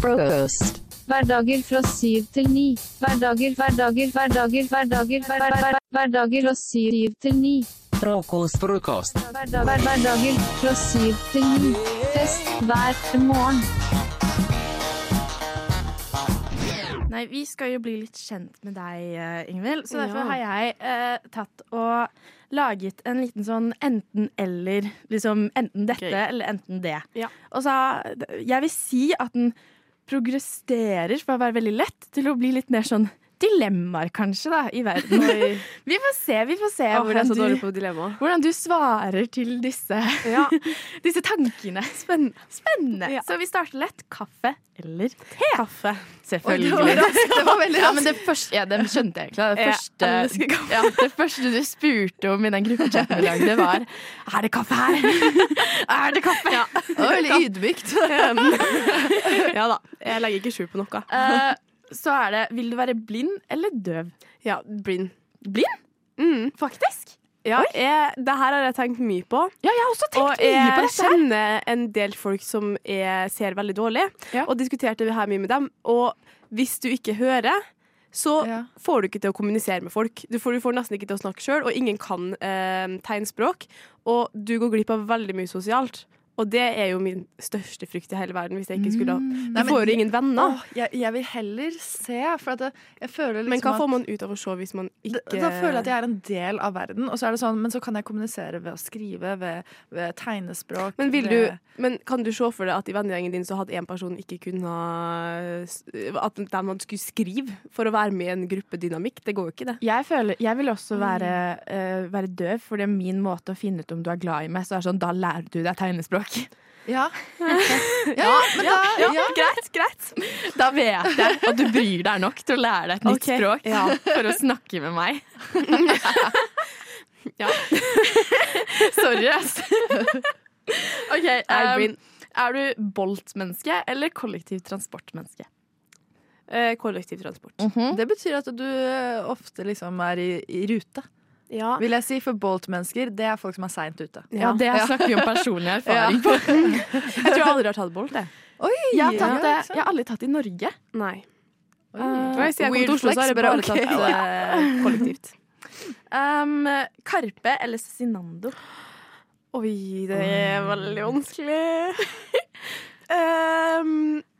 Speaker 27: Frokost. Hverdager fra syv til ni. Hverdager, hverdager, hverdager, hverdager, hver- hver- hver- hverdager fra syv til ni.
Speaker 14: Frokost, frokost.
Speaker 27: Hverdag- hver- Hverdager fra syv til ni. Fest hver morgen.
Speaker 9: Nei, vi skal jo bli litt kjent med deg, eh, Ingvild. Så
Speaker 19: Ja.
Speaker 9: derfor har jeg eh, tatt og laget en liten sånn enten-eller. Liksom enten dette
Speaker 19: Gøy.
Speaker 9: eller enten det.
Speaker 19: Ja.
Speaker 9: Og så Jeg vil si at den progresterer fra å være veldig lett til å bli litt mer sånn dilemmaer, kanskje, da, i verden.
Speaker 5: Oi.
Speaker 9: vi får se, vi får se
Speaker 5: Åh, jeg er
Speaker 9: hvordan,
Speaker 5: så dårlig på
Speaker 9: du,
Speaker 5: dilemma.
Speaker 9: hvordan du svarer til disse, disse tankene. Spennende. Så vi starter lett. Kaffe eller te? Kaffe. Selvfølgelig.
Speaker 19: Oi, det var raskt. Det var veldig
Speaker 9: Ja, men det første, ja, det skjønte jeg ikke. Det
Speaker 19: Jeg
Speaker 9: første,
Speaker 19: elsker kaffe.
Speaker 9: ja, det første du spurte om i den gruppechatten vi lagde, var Er det kaffe her? Er det kaffe? Ja.
Speaker 5: veldig
Speaker 26: ydmykt.
Speaker 5: ja da. Jeg legger ikke skjul på noe.
Speaker 9: Eh, så er det Vil du være blind eller døv?
Speaker 5: Ja, blind. Mm.
Speaker 9: Blind? Faktisk?
Speaker 5: Ja,
Speaker 9: Oi.
Speaker 5: jeg, det her har jeg tenkt mye på.
Speaker 9: Ja, jeg har også tenkt
Speaker 5: og
Speaker 9: mye på dette her.
Speaker 5: jeg kjenner en del folk som er, ser veldig dårlig, og diskuterte det her mye med dem. Og hvis du ikke hører, så får du ikke til å kommunisere med folk. Du får, du får nesten ikke til å snakke sjøl, og ingen kan eh, tegnspråk. Og du går glipp av veldig mye sosialt.
Speaker 2: Og det er jo min største frykt i hele verden, hvis jeg ikke skulle ha
Speaker 26: Mm. Nei,
Speaker 2: Du
Speaker 26: men-
Speaker 2: får jo ingen venner.
Speaker 26: Åh, jeg, jeg vil heller se, for at jeg, jeg føler liksom
Speaker 2: Men hva
Speaker 26: at-
Speaker 2: får man ut av å se hvis man
Speaker 26: Da,
Speaker 2: ikke
Speaker 26: da føler jeg at jeg er en del av verden, og så er det sånn, men så kan jeg kommunisere ved å skrive, ved, ved tegnespråk.
Speaker 2: Men, vil
Speaker 26: ved-
Speaker 2: du, men kan du se for deg at i vennegjengen din så hadde én person ikke kunnet ha At de man skulle skrive for å være med i en gruppedynamikk? Det går jo ikke, det. Mm.
Speaker 9: Jeg, føler, jeg vil også være, eh, være døv, for det er min måte å finne ut om du er glad i meg. Så er det sånn, Da lærer du deg tegnespråk.
Speaker 26: Ja.
Speaker 9: Ja,
Speaker 26: men
Speaker 9: ja,
Speaker 26: da-
Speaker 9: ja,
Speaker 26: ja.
Speaker 9: Greit, greit. Da vet jeg at du bryr deg nok til å lære deg et nytt
Speaker 2: Ok,
Speaker 9: språk
Speaker 2: ja.
Speaker 9: for å snakke med meg. ja. Sorry, ass. OK.
Speaker 2: Albin.
Speaker 9: Um, er du Bolt-menneske eller kollektivtransportmenneske?
Speaker 2: kollektivtransport.
Speaker 26: Det betyr at du eh, ofte liksom er i, i rute.
Speaker 2: Ja.
Speaker 26: Vil jeg si, for Bolt-mennesker, det er folk som er seint ute.
Speaker 9: Ja, det snakker vi om personlig erfaring på.
Speaker 2: Jeg tror jeg aldri har tatt Bolt, jeg.
Speaker 26: Oi,
Speaker 9: jeg har,
Speaker 2: ja,
Speaker 9: tatt,
Speaker 2: ikke
Speaker 9: det-
Speaker 2: sant?
Speaker 9: jeg har aldri tatt det i Norge.
Speaker 2: Nei.
Speaker 9: Uh,
Speaker 2: Når jeg sier jeg kom til Oslo, så har jeg bare tatt eh, kollektivt.
Speaker 9: Um, Karpe eller Cezinando? Mm.
Speaker 2: Oi, det er veldig vanskelig. um,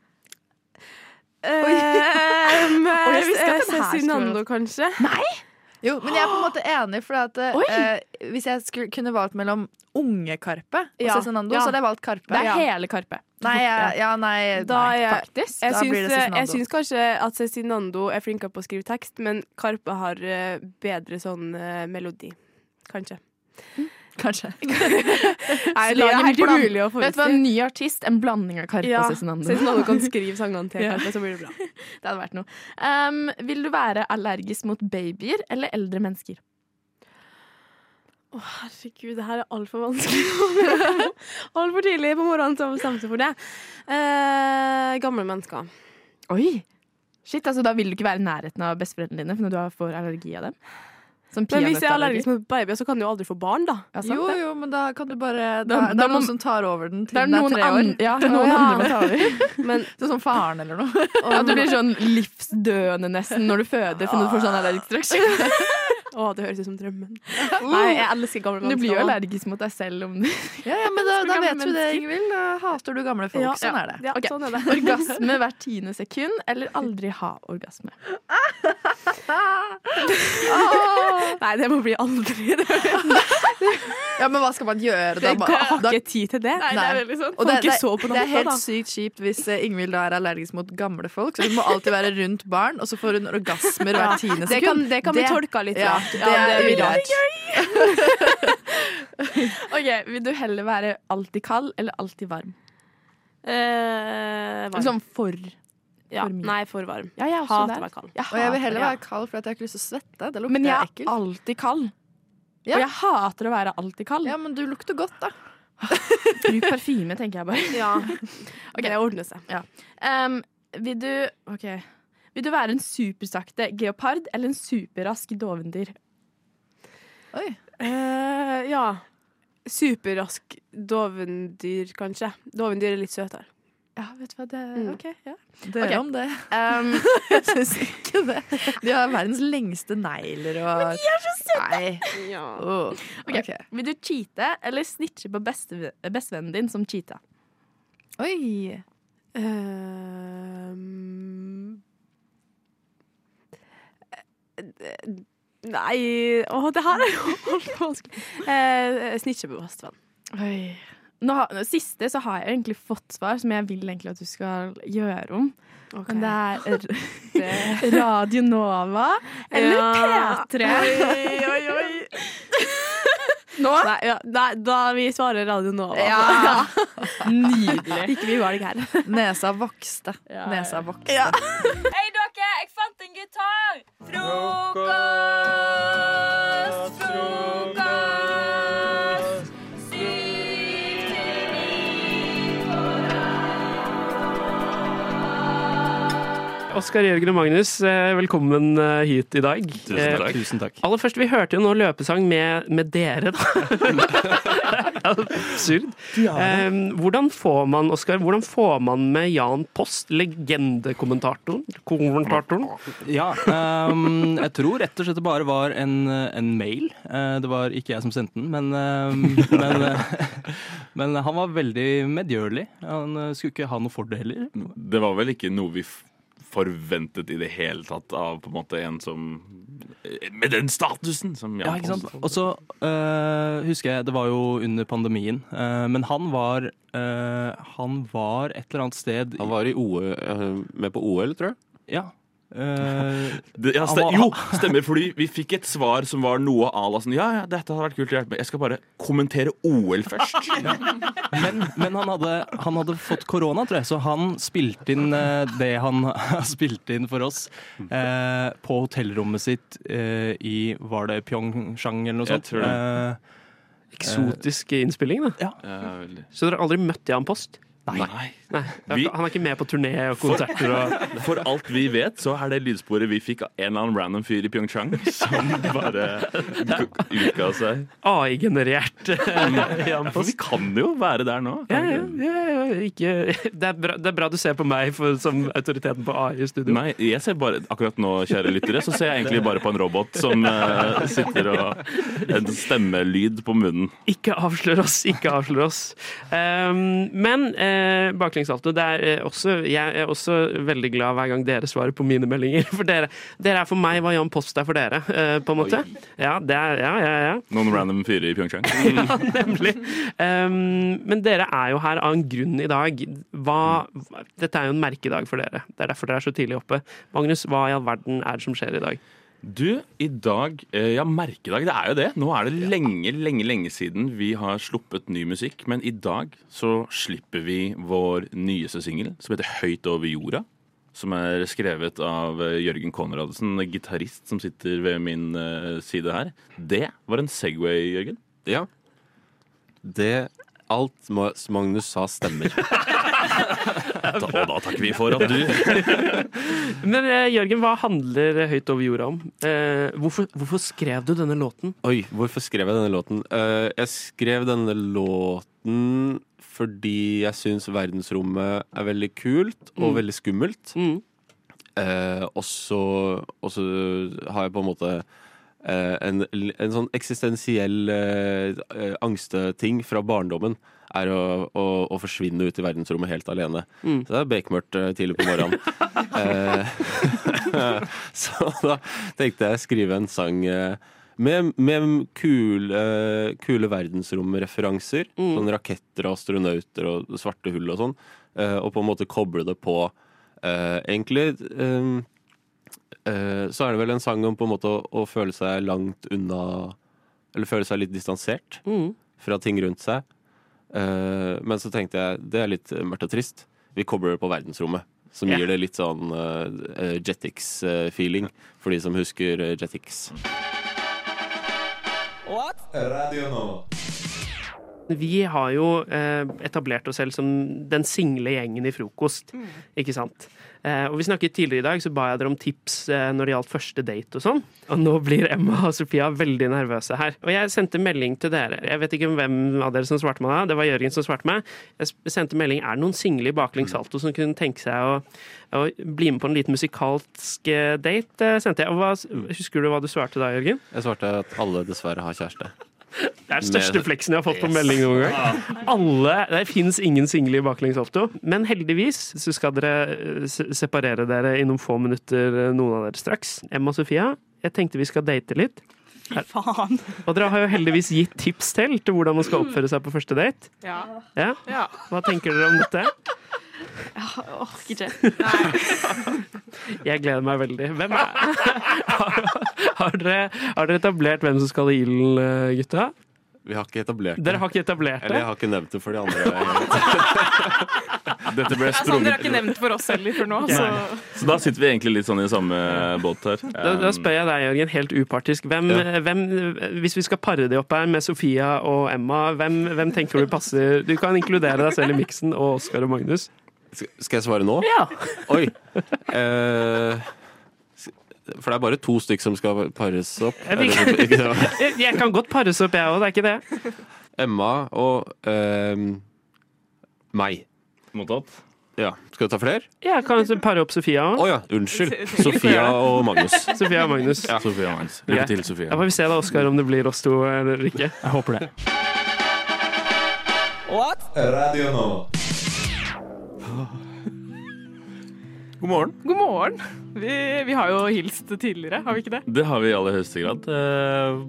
Speaker 2: um,
Speaker 26: Oi, jeg visste ikke at den her skulle
Speaker 2: Cezinando,
Speaker 26: være-
Speaker 2: kanskje?
Speaker 9: Nei!
Speaker 26: eh, Jo, men jeg er på en måte enig, for at, eh,
Speaker 2: Oi.
Speaker 26: eh, hvis jeg skulle, kunne valgt mellom unge Karpe og
Speaker 9: Ja.
Speaker 26: Cezinando,
Speaker 9: Ja.
Speaker 26: så hadde jeg valgt Karpe.
Speaker 9: Det er
Speaker 26: Ja.
Speaker 9: hele Karpe.
Speaker 26: Nei, jeg- ja, nei,
Speaker 2: Da
Speaker 26: nei,
Speaker 2: er-
Speaker 26: faktisk.
Speaker 2: Jeg
Speaker 26: Da blir det
Speaker 2: syns,
Speaker 26: Cezinando.
Speaker 2: jeg syns kanskje at Cezinando er flinkere på å skrive tekst, men Karpe har eh, bedre sånn eh, melodi. Kanskje.
Speaker 26: Kanskje.
Speaker 2: Nei,
Speaker 9: det er helt
Speaker 2: bland-
Speaker 9: umulig å forutsi. Vet du hva, en ny artist, en blanding av Karpe
Speaker 2: Ja,
Speaker 9: og Cezinando.
Speaker 2: Cezinando kan skrive sangene til
Speaker 9: Ja.
Speaker 2: Karpe, så blir det bra.
Speaker 9: Det hadde vært noe. Um, vil du være allergisk mot babyer eller eldre mennesker?
Speaker 2: Å, herregud, det her er altfor vanskelig. altfor tidlig på morgenen som bestemte for det. Eh, gamle mennesker.
Speaker 9: Oi! Shit, altså Da vil du ikke være i nærheten av besteforeldrene dine for når du får allergi av dem. Som
Speaker 2: Men hvis jeg er
Speaker 9: peanøttallergi.
Speaker 2: allergisk mot babyer, så kan jeg jo aldri få barn, da.
Speaker 9: Ja, sant
Speaker 26: Jo,
Speaker 9: det.
Speaker 26: jo, men da kan du bare Det,
Speaker 9: Da-
Speaker 26: er- det
Speaker 9: da
Speaker 26: er
Speaker 9: må-
Speaker 26: noen som tar over den til
Speaker 9: Det er
Speaker 26: den er
Speaker 9: noen
Speaker 26: tre år.
Speaker 9: an- ja, det er noen andre som tar
Speaker 2: Men,
Speaker 26: sånn som faren eller noe.
Speaker 9: Ja, du blir sånn livsdøende nesten når du føder, for når du får sånn allergisk reaksjon.
Speaker 2: Å, det høres ut som drømmen. Nei, jeg elsker gamle
Speaker 9: Du
Speaker 2: mennesker.
Speaker 9: blir jo
Speaker 2: da.
Speaker 9: allergisk mot deg selv om du
Speaker 26: Ja, ja, men da, da
Speaker 9: Gamle
Speaker 26: vet du det,
Speaker 9: mennesker.
Speaker 26: Ingvild. Da hater du gamle folk.
Speaker 9: Ja,
Speaker 26: sånn
Speaker 9: ja.
Speaker 26: er det.
Speaker 2: Ja,
Speaker 9: Ok.
Speaker 2: sånn er det.
Speaker 9: Orgasme hvert tiende sekund, eller aldri ha orgasme.
Speaker 2: Nei, det må bli aldri. Det
Speaker 26: Ja, Men hva skal man gjøre da?
Speaker 2: Jeg har
Speaker 26: da-
Speaker 2: ikke tid til det.
Speaker 26: Nei. Og
Speaker 2: Får
Speaker 26: det,
Speaker 2: ikke
Speaker 26: det,
Speaker 2: sove på
Speaker 26: det er
Speaker 2: natta,
Speaker 26: helt
Speaker 2: da.
Speaker 26: sykt kjipt hvis eh, Ingvild da er allergisk mot gamle folk. Så hun må alltid være rundt barn, og så får hun orgasmer
Speaker 2: Ja,
Speaker 26: hvert tiende sekund.
Speaker 2: det kan- det kan bli tolka litt
Speaker 26: ja,
Speaker 2: rart.
Speaker 26: Det
Speaker 2: Ja,
Speaker 26: er
Speaker 2: det blir
Speaker 26: urart.
Speaker 9: Ok, Vil du heller være alltid kald eller alltid varm?
Speaker 2: Eh, varm.
Speaker 26: Liksom
Speaker 9: Sånn for.
Speaker 2: ja.
Speaker 9: for mye.
Speaker 2: Nei, for varm.
Speaker 9: Ja, jeg er også
Speaker 2: Hater
Speaker 9: der.
Speaker 2: å være kald.
Speaker 9: Jeg
Speaker 26: Og jeg vil heller
Speaker 9: hater-
Speaker 26: være kald, for at jeg har ikke lyst til å svette. Det
Speaker 9: ja.
Speaker 26: lukter
Speaker 9: Men jeg
Speaker 26: ekkelt.
Speaker 9: er alltid kald. Og jeg hater å være alltid kald.
Speaker 26: Ja, men du lukter godt, da.
Speaker 9: Bruk parfyme, tenker jeg bare.
Speaker 2: Ja.
Speaker 9: Ok.
Speaker 2: Det ordner seg.
Speaker 9: Ja. Um, vil du OK. Vil du være en supersakte geopard eller en superrask dovendyr?
Speaker 26: Oi.
Speaker 2: Eh, ja. Superrask dovendyr, kanskje. Dovendyr er litt søtere.
Speaker 9: Ja, vet du hva det OK, ja.
Speaker 26: Mm. Dere
Speaker 9: Ok.
Speaker 26: om det.
Speaker 9: Um,
Speaker 26: Jeg syns ikke det. De har verdens lengste negler og Men de er så søte! Nei. Åh.
Speaker 9: Oh, Ok.
Speaker 26: Ok.
Speaker 9: Vil du cheate eller snitche på beste, bestevennen din som cheata?
Speaker 26: Oi.
Speaker 2: Ehm. Nei Å, det her er jo altfor vanskelig. Uh, Snitche på Bastvann.
Speaker 9: Oi. Nå, har- nå, siste så har jeg egentlig fått svar som jeg vil egentlig at du skal gjøre om. Men det er r- Radio Nova eller
Speaker 2: Ja.
Speaker 9: P3.
Speaker 2: Oi, oi,
Speaker 9: Nå?
Speaker 2: Nei, ja, nei, da vi svarer Radio Nova.
Speaker 26: Ja.
Speaker 9: Nydelig.
Speaker 2: Ikke vi var det her.
Speaker 26: Nesa vokste. Nesa vokste.
Speaker 5: Hei, dere! Jeg fant en gitar! Frokost, frokost. Syv til ni på rad.
Speaker 28: Oskar Jørgen og Magnus, eh, velkommen eh, hit i dag.
Speaker 10: Tusen takk.
Speaker 28: Eh,
Speaker 10: Tusen takk.
Speaker 28: Aller først, vi hørte jo nå løpesang med, med dere, da. Absurd.
Speaker 10: Ja.
Speaker 28: Eh, Hvordan får man, Oskar, hvordan får man med Jan Post, legendekommentatoren? Kommentatoren?
Speaker 10: Ja, ehm, jeg tror rett og slett det bare var en, en mail. Eh, det var ikke jeg som sendte den, men, ehm, men, eh, men han var veldig medgjørlig. Han eh, skulle ikke ha noe for det heller.
Speaker 16: Det var vel ikke noe vi f- forventet i det hele tatt av på en måte en som eh, Med den statusen! Som Jan
Speaker 10: Ja, ikke sant?
Speaker 16: Post.
Speaker 10: Og så eh, husker jeg, det var jo under pandemien, eh, men han var eh, Han var et eller annet sted
Speaker 29: Han var i OL, eh, med på OL, tror jeg.
Speaker 10: Ja. Eh,
Speaker 16: det, ja,
Speaker 10: han
Speaker 16: ste,
Speaker 10: var-
Speaker 16: jo, stemmer, fordi vi fikk et svar som var noe à la sånn Ja, ja, dette hadde vært kult å hjelpe med. Jeg skal bare kommentere OL først.
Speaker 10: Men, men han, hadde, han hadde fått korona, tror jeg, så han spilte inn eh, det han spilte inn for oss eh, på hotellrommet sitt eh, i Var det Pyeongchang eller noe
Speaker 28: Jeg
Speaker 10: sånt? Eh,
Speaker 28: tror det. Eh, Eksotisk innspilling, da. Så dere har aldri møtt Jan Post?
Speaker 16: Nei.
Speaker 28: Nei.
Speaker 16: Vi-
Speaker 28: Han er ikke med på turné og konserter og
Speaker 16: For, for alt vi vet, så er det lydsporet vi fikk av en eller annen random fyr i Pyeongchang som bare utga seg.
Speaker 28: AI-generert eh, Jan
Speaker 16: For
Speaker 28: Post.
Speaker 16: vi kan jo være der nå.
Speaker 28: Ja, ja, ja, ja, ikke, det, er bra, det er bra du ser på meg for, som autoriteten på AI i studio.
Speaker 16: Nei, jeg ser bare, akkurat nå, kjære lyttere, så ser jeg egentlig bare på en robot som eh, sitter og En stemmelyd på munnen.
Speaker 28: Ikke avslør oss, ikke avslør oss. Ehm, men uh, baklengssalto, det er eh, også Jeg er også veldig glad hver gang dere svarer på mine meldinger. For dere, dere er for meg hva Jan Post er for dere, eh, på en måte. Ja, det er, ja, ja, ja.
Speaker 16: Noen random fyrer i Pyeongchang.
Speaker 28: ja, nemlig. Ehm, men dere er jo her av en grunn i dag. Hva, dette er jo en merkedag for dere. Det er derfor dere er så tidlig oppe. Magnus, hva i all verden er det som skjer i dag?
Speaker 16: Du, i dag eh, Ja, merkedag, det er jo det. Nå er det lenge, lenge, lenge siden vi har sluppet ny musikk. Men i dag så slipper vi vår nyeste singel, som heter Høyt over jorda. Som er skrevet av eh, Jørgen Konradsen, en gitarist som sitter ved min eh, side her. Det var en Segway, Jørgen.
Speaker 29: Ja. Det Alt Ma- Magnus sa, stemmer.
Speaker 16: Da, og da takker vi for at du
Speaker 28: Men eh, Jørgen, hva handler Høyt over jorda om? Eh, hvorfor, hvorfor skrev du denne låten?
Speaker 29: Oi, hvorfor skrev jeg denne låten? Eh, jeg skrev denne låten fordi jeg syns verdensrommet er veldig kult og
Speaker 28: Mm.
Speaker 29: veldig skummelt. Eh, og så og så har jeg på en måte eh, en, en sånn eksistensiell eh, eh, angsteting fra barndommen. Er å, å, å forsvinne ut i verdensrommet helt alene.
Speaker 28: Mm.
Speaker 29: Så det er bekmørkt eh, tidlig på morgenen. Eh, så da tenkte jeg skrive en sang eh, med, med kule, kule verdensromreferanser.
Speaker 28: Mm.
Speaker 29: Sånn raketter og astronauter og svarte hull og sånn. eh, og på en måte koble det på eh, Egentlig eh, eh, så er det vel en sang om på en måte å, å føle seg langt unna Eller føle seg litt distansert
Speaker 28: Mm.
Speaker 29: fra ting rundt seg. Eh, men så tenkte jeg det er litt eh, mørkt og trist. Vi kobler det på verdensrommet. Som
Speaker 28: Ja.
Speaker 29: gir det litt sånn uh, Jetix-feeling, for de som husker eh, Jetix.
Speaker 11: Radio Nova.
Speaker 28: Vi har jo eh, etablert oss selv som den single gjengen i frokost, ikke sant? Eh, og vi snakket tidligere i dag, så ba jeg dere om tips eh, når det gjaldt første date og sånn. Og nå blir Emma og Sofia veldig nervøse her. Og jeg sendte melding til dere. Jeg vet ikke hvem av dere som svarte meg da, det var Jørgen som svarte meg. Jeg s- sendte melding er det noen single i
Speaker 29: Mm.
Speaker 28: baklengs salto som kunne tenke seg å, å bli med på en liten musikalsk eh, date, eh, sendte jeg. Og hva, husker du hva du svarte da, Jørgen?
Speaker 29: Mm. Jeg svarte at alle dessverre har kjæreste.
Speaker 28: Det er den største
Speaker 29: Med-
Speaker 28: fleksen jeg har fått på
Speaker 29: Yes. Ah.
Speaker 28: melding noen gang. Alle, Det fins ingen single i baklengs salto, men heldigvis så skal dere eh, se- separere dere i noen få minutter, eh, noen av dere straks. Emma og Sofia, jeg tenkte vi skal date litt.
Speaker 2: Faen. Mm.
Speaker 28: Og dere har jo heldigvis gitt tips til til hvordan man skal oppføre seg på første date.
Speaker 2: Ja.
Speaker 28: Ja?
Speaker 2: Ja.
Speaker 28: Hva tenker dere om dette?
Speaker 2: Jeg orker ikke.
Speaker 28: Jeg gleder meg veldig. Hvem er Har dere, har dere etablert hvem som skal i ilden, eh, gutta?
Speaker 29: Vi har ikke etablert det.
Speaker 28: Dere har ikke etablert det?
Speaker 29: Eller jeg har ikke nevnt det for de andre.
Speaker 2: Altså,
Speaker 16: Dette ble
Speaker 2: dere har
Speaker 16: sprunget
Speaker 2: ikke nevnt for oss heller før nå,
Speaker 16: Nei.
Speaker 2: så
Speaker 16: Så da sitter vi egentlig litt sånn i samme båt her. Um,
Speaker 28: Da, da spør jeg deg, Jørgen, helt upartisk. Hvem, eh, hvem, hvis vi skal pare de opp her med Sofia og Emma, hvem, hvem tenker du passer Du kan inkludere deg selv i miksen og Oskar og Magnus.
Speaker 29: Sk- Skal jeg svare nå?
Speaker 30: Ja.
Speaker 29: Oi. Eh, s- for det er bare to stykk som skal pares opp.
Speaker 28: Jeg, vil-
Speaker 29: Eller, ikke det?
Speaker 28: jeg, jeg kan godt pares opp, jeg òg, det er ikke det?
Speaker 29: Emma og ehm, meg. Mottatt. Ja. Skal du ta flere?
Speaker 28: Jeg kan også pare opp Sofia òg.
Speaker 29: Å ja, unnskyld. Sofia og Magnus.
Speaker 28: eh, Sofia og Magnus.
Speaker 16: Sofia og Magnus. Lykke til, Sofia.
Speaker 28: Da får vi se da, Oskar, om det blir oss to eh, eller ikke. Jeg håper det.
Speaker 31: What? Radio Nova.
Speaker 16: God morgen.
Speaker 7: God morgen. Vi, vi har jo hilst tidligere, har vi ikke det?
Speaker 16: Det har vi i aller høyeste grad. Eh,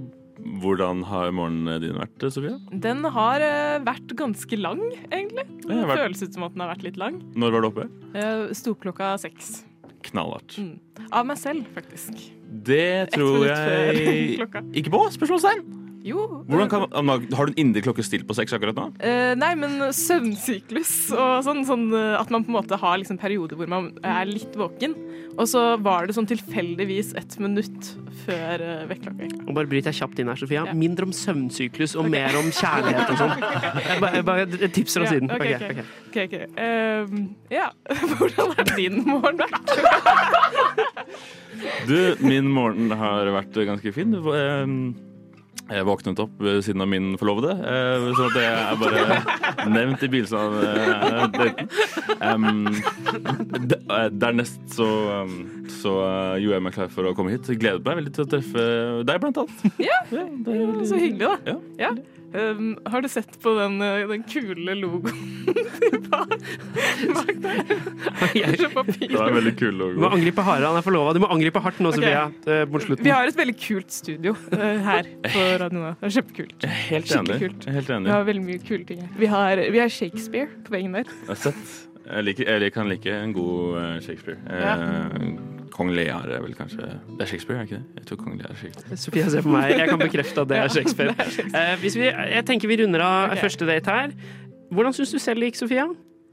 Speaker 16: Hvordan har morgenen din vært, eh, Sofia?
Speaker 7: Den har eh, vært ganske lang, egentlig.
Speaker 16: Ja, jeg
Speaker 7: Det
Speaker 16: har vært-
Speaker 7: føles ut som at den har vært litt lang.
Speaker 16: Når var du oppe?
Speaker 7: Uh, Sto klokka seks.
Speaker 16: Knallhardt.
Speaker 7: Mm. Av meg selv, faktisk.
Speaker 16: Det tror
Speaker 7: minutt
Speaker 16: jeg
Speaker 7: før klokka.
Speaker 16: Eh, Ikke på? Spørsmålstegn!
Speaker 7: Jo.
Speaker 16: Hvordan kan, har du en indre klokke stilt på seks akkurat nå?
Speaker 7: Eh, nei, men søvnsyklus og sånn, sånn eh, at man på en måte har liksom perioder hvor man er litt våken. Og så var det sånn tilfeldigvis et minutt før uh, vekkerklokka. gikk.
Speaker 28: Og bare bryter jeg kjapt inn her, Sofia. Mindre om søvnsyklus og mer om kjærlighet og sånn. Jeg bare, jeg bare tipser oss
Speaker 7: Ja,
Speaker 28: siden.
Speaker 7: ok,
Speaker 28: Ok,
Speaker 7: ok.
Speaker 28: ok.
Speaker 7: Ok, ok. Ehm, ja, hvordan har din morgen vært?
Speaker 16: Du, min morgen har vært ganske fin. Du, ehm, Jeg våknet opp ved siden av min forlovede, eh, sånn at det er bare nevnt i begynnelsen av eh, daten. Ehm, d- eh, Dernest så, ehm, så eh, gjorde jeg meg klar for å komme hit. Gledet meg veldig til å treffe deg, blant annet.
Speaker 7: Ja, så hyggelig, da. Ja. Ehm, har du sett på den, eh, den kule logoen bak der? Så papir.
Speaker 16: Det var en veldig kul
Speaker 28: Du
Speaker 16: logo.
Speaker 28: må angripe hardere, han er forlova. Du må angripe hardt nå,
Speaker 7: Ok.
Speaker 28: Sofia. eh, Mot
Speaker 7: Vi
Speaker 28: slutten.
Speaker 7: har et veldig kult studio eh, her på Radio Nova. Det er kjempekult.
Speaker 16: Helt
Speaker 7: Skikkelig
Speaker 16: enig.
Speaker 7: kult.
Speaker 16: Helt
Speaker 7: Vi har
Speaker 16: enig.
Speaker 7: veldig mye kule ting her. Vi har, vi har Shakespeare på veggen der.
Speaker 16: Jeg har sett. Jeg, liker, jeg kan like en god eh, Shakespeare. Eh, Kong Lear er vel kanskje Det er Shakespeare, er det ikke det? Jeg tror Kong Lear er Shakespeare.
Speaker 28: Sofia ser på meg. Jeg kan bekrefte at det er Shakespeare. Eh, hvis vi, jeg tenker vi runder av første date her. Hvordan syns du selv det gikk, Sofia?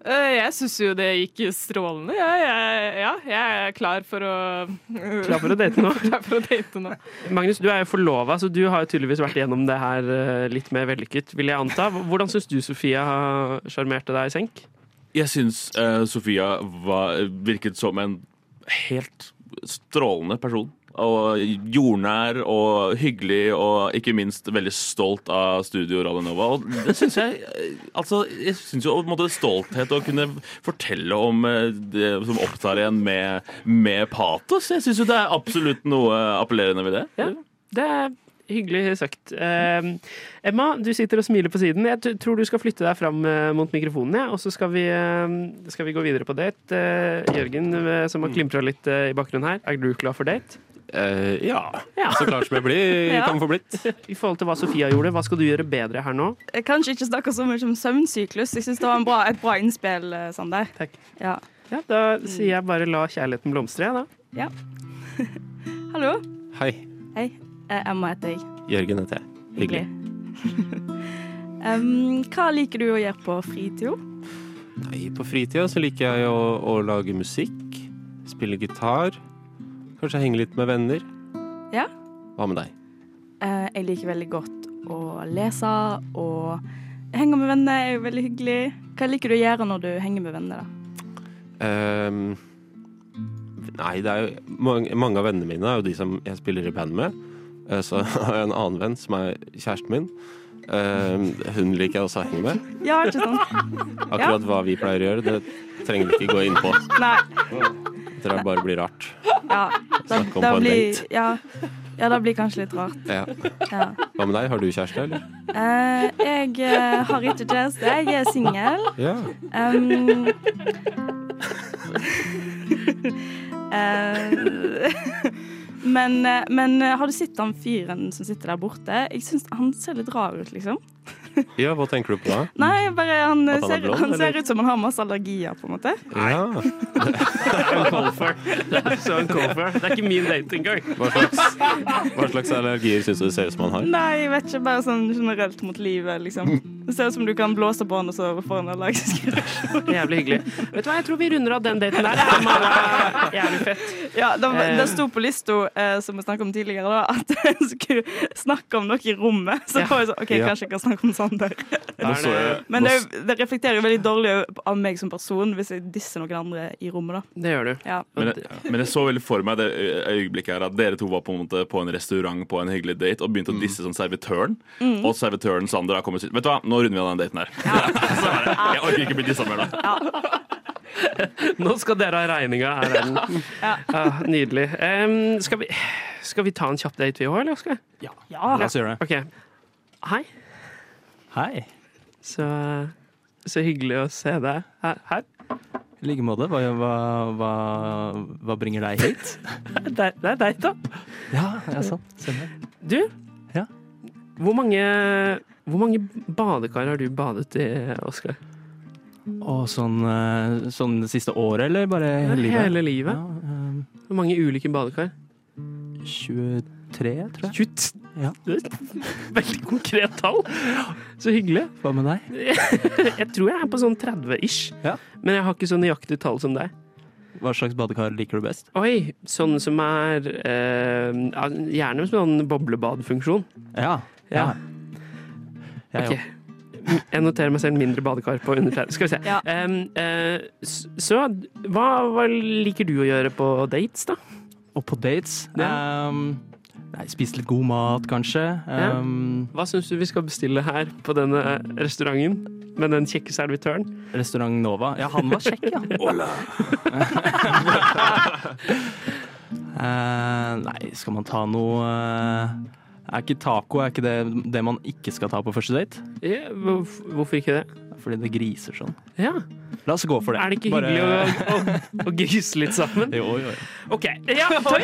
Speaker 7: Eh, Jeg syns jo det gikk strålende. Ja, jeg, ja, jeg er klar for å
Speaker 28: Klar for å date nå?
Speaker 7: Klar for å date nå.
Speaker 28: Magnus, du er jo forlova, så du har jo tydeligvis vært gjennom det her eh, litt mer vellykket, vil jeg anta. Hvordan syns du Sofia sjarmerte deg i senk?
Speaker 16: Jeg syns eh, Sofia var, virket som en helt strålende person. Og jordnær og hyggelig og ikke minst veldig stolt av Studio Radio Nova. Og det syns jeg eh, Altså, jeg syns jo på en måte stolthet å kunne fortelle om eh, det som opptar en med, med patos. Jeg syns jo det er absolutt noe appellerende ved det.
Speaker 28: Ja, det er hyggelig sagt. Eh, Emma, du sitter og smiler på siden. Jeg t- tror du skal flytte deg fram eh, mot mikrofonen, jeg, og så skal vi, eh, skal vi gå videre på date. Eh, Jørgen, eh, som
Speaker 29: Mm.
Speaker 28: har klimpra litt eh, i bakgrunnen her, er du klar for date?
Speaker 29: Eh, ja.
Speaker 28: Ja.
Speaker 29: Så klart som jeg blir.
Speaker 28: Ja.
Speaker 29: Kan få blitt.
Speaker 28: I forhold til hva Sofia gjorde, hva skal du gjøre bedre her nå?
Speaker 2: Jeg kan ikke snakke så mye om søvnsyklus. Jeg syns det var en bra, et bra innspill. eh, Sånn der. Ja.
Speaker 28: Ja, da sier jeg bare la kjærligheten blomstre, jeg, da.
Speaker 2: ja. Hallo.
Speaker 29: Hei.
Speaker 2: Hei. Eh, Emma heter jeg.
Speaker 29: Jørgen heter jeg. Hyggelig.
Speaker 2: Em, hva liker du å gjøre på fritida?
Speaker 29: Nei, på fritida så liker jeg å, å lage musikk. Spille gitar. Kanskje henge litt med venner.
Speaker 2: Ja.
Speaker 29: Hva med deg?
Speaker 2: Eh, jeg liker veldig godt å lese og henge med venner. er jo veldig hyggelig. Hva liker du å gjøre når du henger med venner? da?
Speaker 29: Ehm, nei, det er jo mange, mange av vennene mine er jo de som jeg spiller i band med. Eh, Så har jeg en annen venn som er kjæresten min. Ehm, hun liker jeg også å henge med.
Speaker 2: Ja, ikke sant?
Speaker 29: Akkurat hva vi pleier å gjøre, det trenger vi ikke gå inn på.
Speaker 2: Ja. Nei.
Speaker 29: Jeg tror det bare blir rart.
Speaker 2: Ja. Da,
Speaker 29: Snakke om
Speaker 2: da
Speaker 29: på en
Speaker 2: blir,
Speaker 29: date.
Speaker 2: ja. ja, det blir kanskje litt rart.
Speaker 29: Ja.
Speaker 2: Ja.
Speaker 29: Hva med deg? Har du kjæreste, eller?
Speaker 2: Eh, jeg eh, har ikke kjæreste, jeg er singel.
Speaker 29: Ja.
Speaker 2: Um, eh, men, eh, men eh, har du sett han fyren som sitter der borte? Jeg syns han ser litt rar ut, liksom.
Speaker 29: Ja, hva tenker du på da?
Speaker 2: Nei, bare han, eh,
Speaker 29: At han er
Speaker 2: ser,
Speaker 29: blond,
Speaker 2: han ser
Speaker 29: eller?
Speaker 2: ut som han har masse allergier, på en måte.
Speaker 29: Ja.
Speaker 28: Det er så en call for. Det er ikke min date engang.
Speaker 29: Hva slags, hva slags allergier syns du det ser ut som han har?
Speaker 2: Nei, jeg vet ikke. Bare sånn generelt mot livet, liksom.
Speaker 29: Mm.
Speaker 2: Det ser ut som du kan blåse på den, og så får den allergisk reaksjon.
Speaker 28: Jævlig hyggelig. Vet du hva, jeg tror vi runder av den daten der. Det var Jævlig fett.
Speaker 2: Ja, det, var-
Speaker 28: Eh.
Speaker 2: det sto på lista, eh, som vi snakket om tidligere, da, at en skulle snakke om noe i rommet. Så
Speaker 28: Ja.
Speaker 2: var jeg sånn, OK,
Speaker 28: Ja.
Speaker 2: kanskje jeg kan snakke om Sander.
Speaker 28: Nå så jeg-
Speaker 2: Men
Speaker 28: nå
Speaker 2: det, er jo- det reflekterer jo veldig dårlig av meg som person hvis jeg disser noen andre i rommet, da.
Speaker 28: Det gjør du.
Speaker 2: Ja.
Speaker 16: Men jeg, men jeg så veldig for meg det ø- øyeblikket her at dere to var på en, måte på en restaurant på en hyggelig date og begynte å disse sånn servitøren.
Speaker 2: Mm.
Speaker 16: Og servitøren Sander har kommet sitt. Vet du hva, nå runder vi av den daten her. Så er det. Jeg orker ikke bli dissa mer nå.
Speaker 28: Nå skal dere ha regninga. Her er den. Ja, nydelig. Em, skal, vi, skal vi ta en kjapp date, vi òg, eller? Skal? vi?
Speaker 10: Ja. La oss gjøre det.
Speaker 28: Ok. Hei.
Speaker 10: Hei.
Speaker 28: Så, så hyggelig å se deg her. her.
Speaker 10: I like måte. Hva, hva, hva, hva bringer deg hit?
Speaker 28: Det er- det er deg, da.
Speaker 10: Ja, ja sant. Stemmer.
Speaker 28: Du, hvor mange, hvor mange badekar har du badet i, Oskar?
Speaker 10: Og sånn, eh, sånn det siste året, eller bare hele livet? ehm.
Speaker 28: Hele livet? Hvor mange ulike badekar?
Speaker 10: 23, tror jeg.
Speaker 28: 20.
Speaker 10: Ja.
Speaker 28: Veldig konkret tall. Så hyggelig.
Speaker 10: Hva med deg?
Speaker 28: Jeg tror jeg er på sånn 30-ish, men jeg har ikke så nøyaktig tall som deg.
Speaker 10: Hva slags badekar liker du best?
Speaker 28: Oi, sånn som er eh, ja, Gjerne med sånn boblebadfunksjon.
Speaker 10: Ja.
Speaker 28: Ja.
Speaker 10: Jeg
Speaker 28: Ok. Jeg noterer meg selv mindre badekar på under 30. Skal vi se. Em, eh, s- så hva, hva liker du å gjøre på dates, da?
Speaker 10: Og på dates? Um, nei, spise litt god mat, kanskje.
Speaker 28: Ja.
Speaker 10: Um,
Speaker 28: Hva syns du vi skal bestille her på denne restauranten med den kjekke servitøren?
Speaker 10: Restaurant Nova. Ja, han var kjekk, ja. Eh, nei, skal man ta noe eh, Er ikke taco er ikke det, det man ikke skal ta på første date?
Speaker 28: Ja, hvorf- hvorfor ikke det?
Speaker 10: Fordi det griser sånn.
Speaker 28: Ja.
Speaker 10: La oss gå for det.
Speaker 28: Er det ikke
Speaker 10: Bare-
Speaker 28: hyggelig å, å, å grise litt sammen?
Speaker 10: Jo, jo, jo.
Speaker 28: OK. Ja, takk.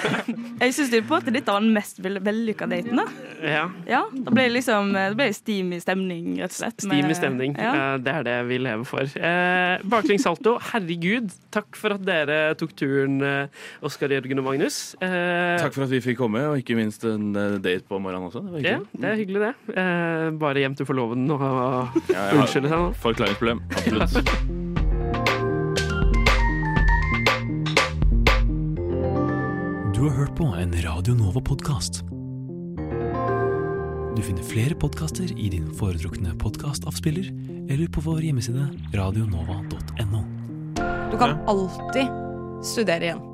Speaker 2: Jeg syns på en måte dette var den mest vel- vellykka daten, da.
Speaker 28: Ja.
Speaker 2: Ja, da ble det liksom da ble det steamy stemning, rett og slett. med-
Speaker 28: Steamy stemning.
Speaker 2: Ja.
Speaker 28: Eh, Det er det vi lever for. Eh, Baklengs salto, herregud, takk for at dere tok turen, eh, Oskar Jørgen og Magnus. Eh,
Speaker 16: Takk for at vi fikk komme, og ikke minst en eh, date på morgenen også. Det var
Speaker 28: Ja, det er hyggelig, det. Eh, Bare hjem til forloveden og og
Speaker 16: Ja, jeg har
Speaker 28: unnskylde seg nå.
Speaker 16: Forklaringsproblem. Absolutt.
Speaker 1: Du har hørt på en Radio Nova-podkast. Du finner flere podkaster i din foretrukne podkastavspiller eller på vår hjemmeside radionova.no.
Speaker 4: Du kan alltid studere igjen.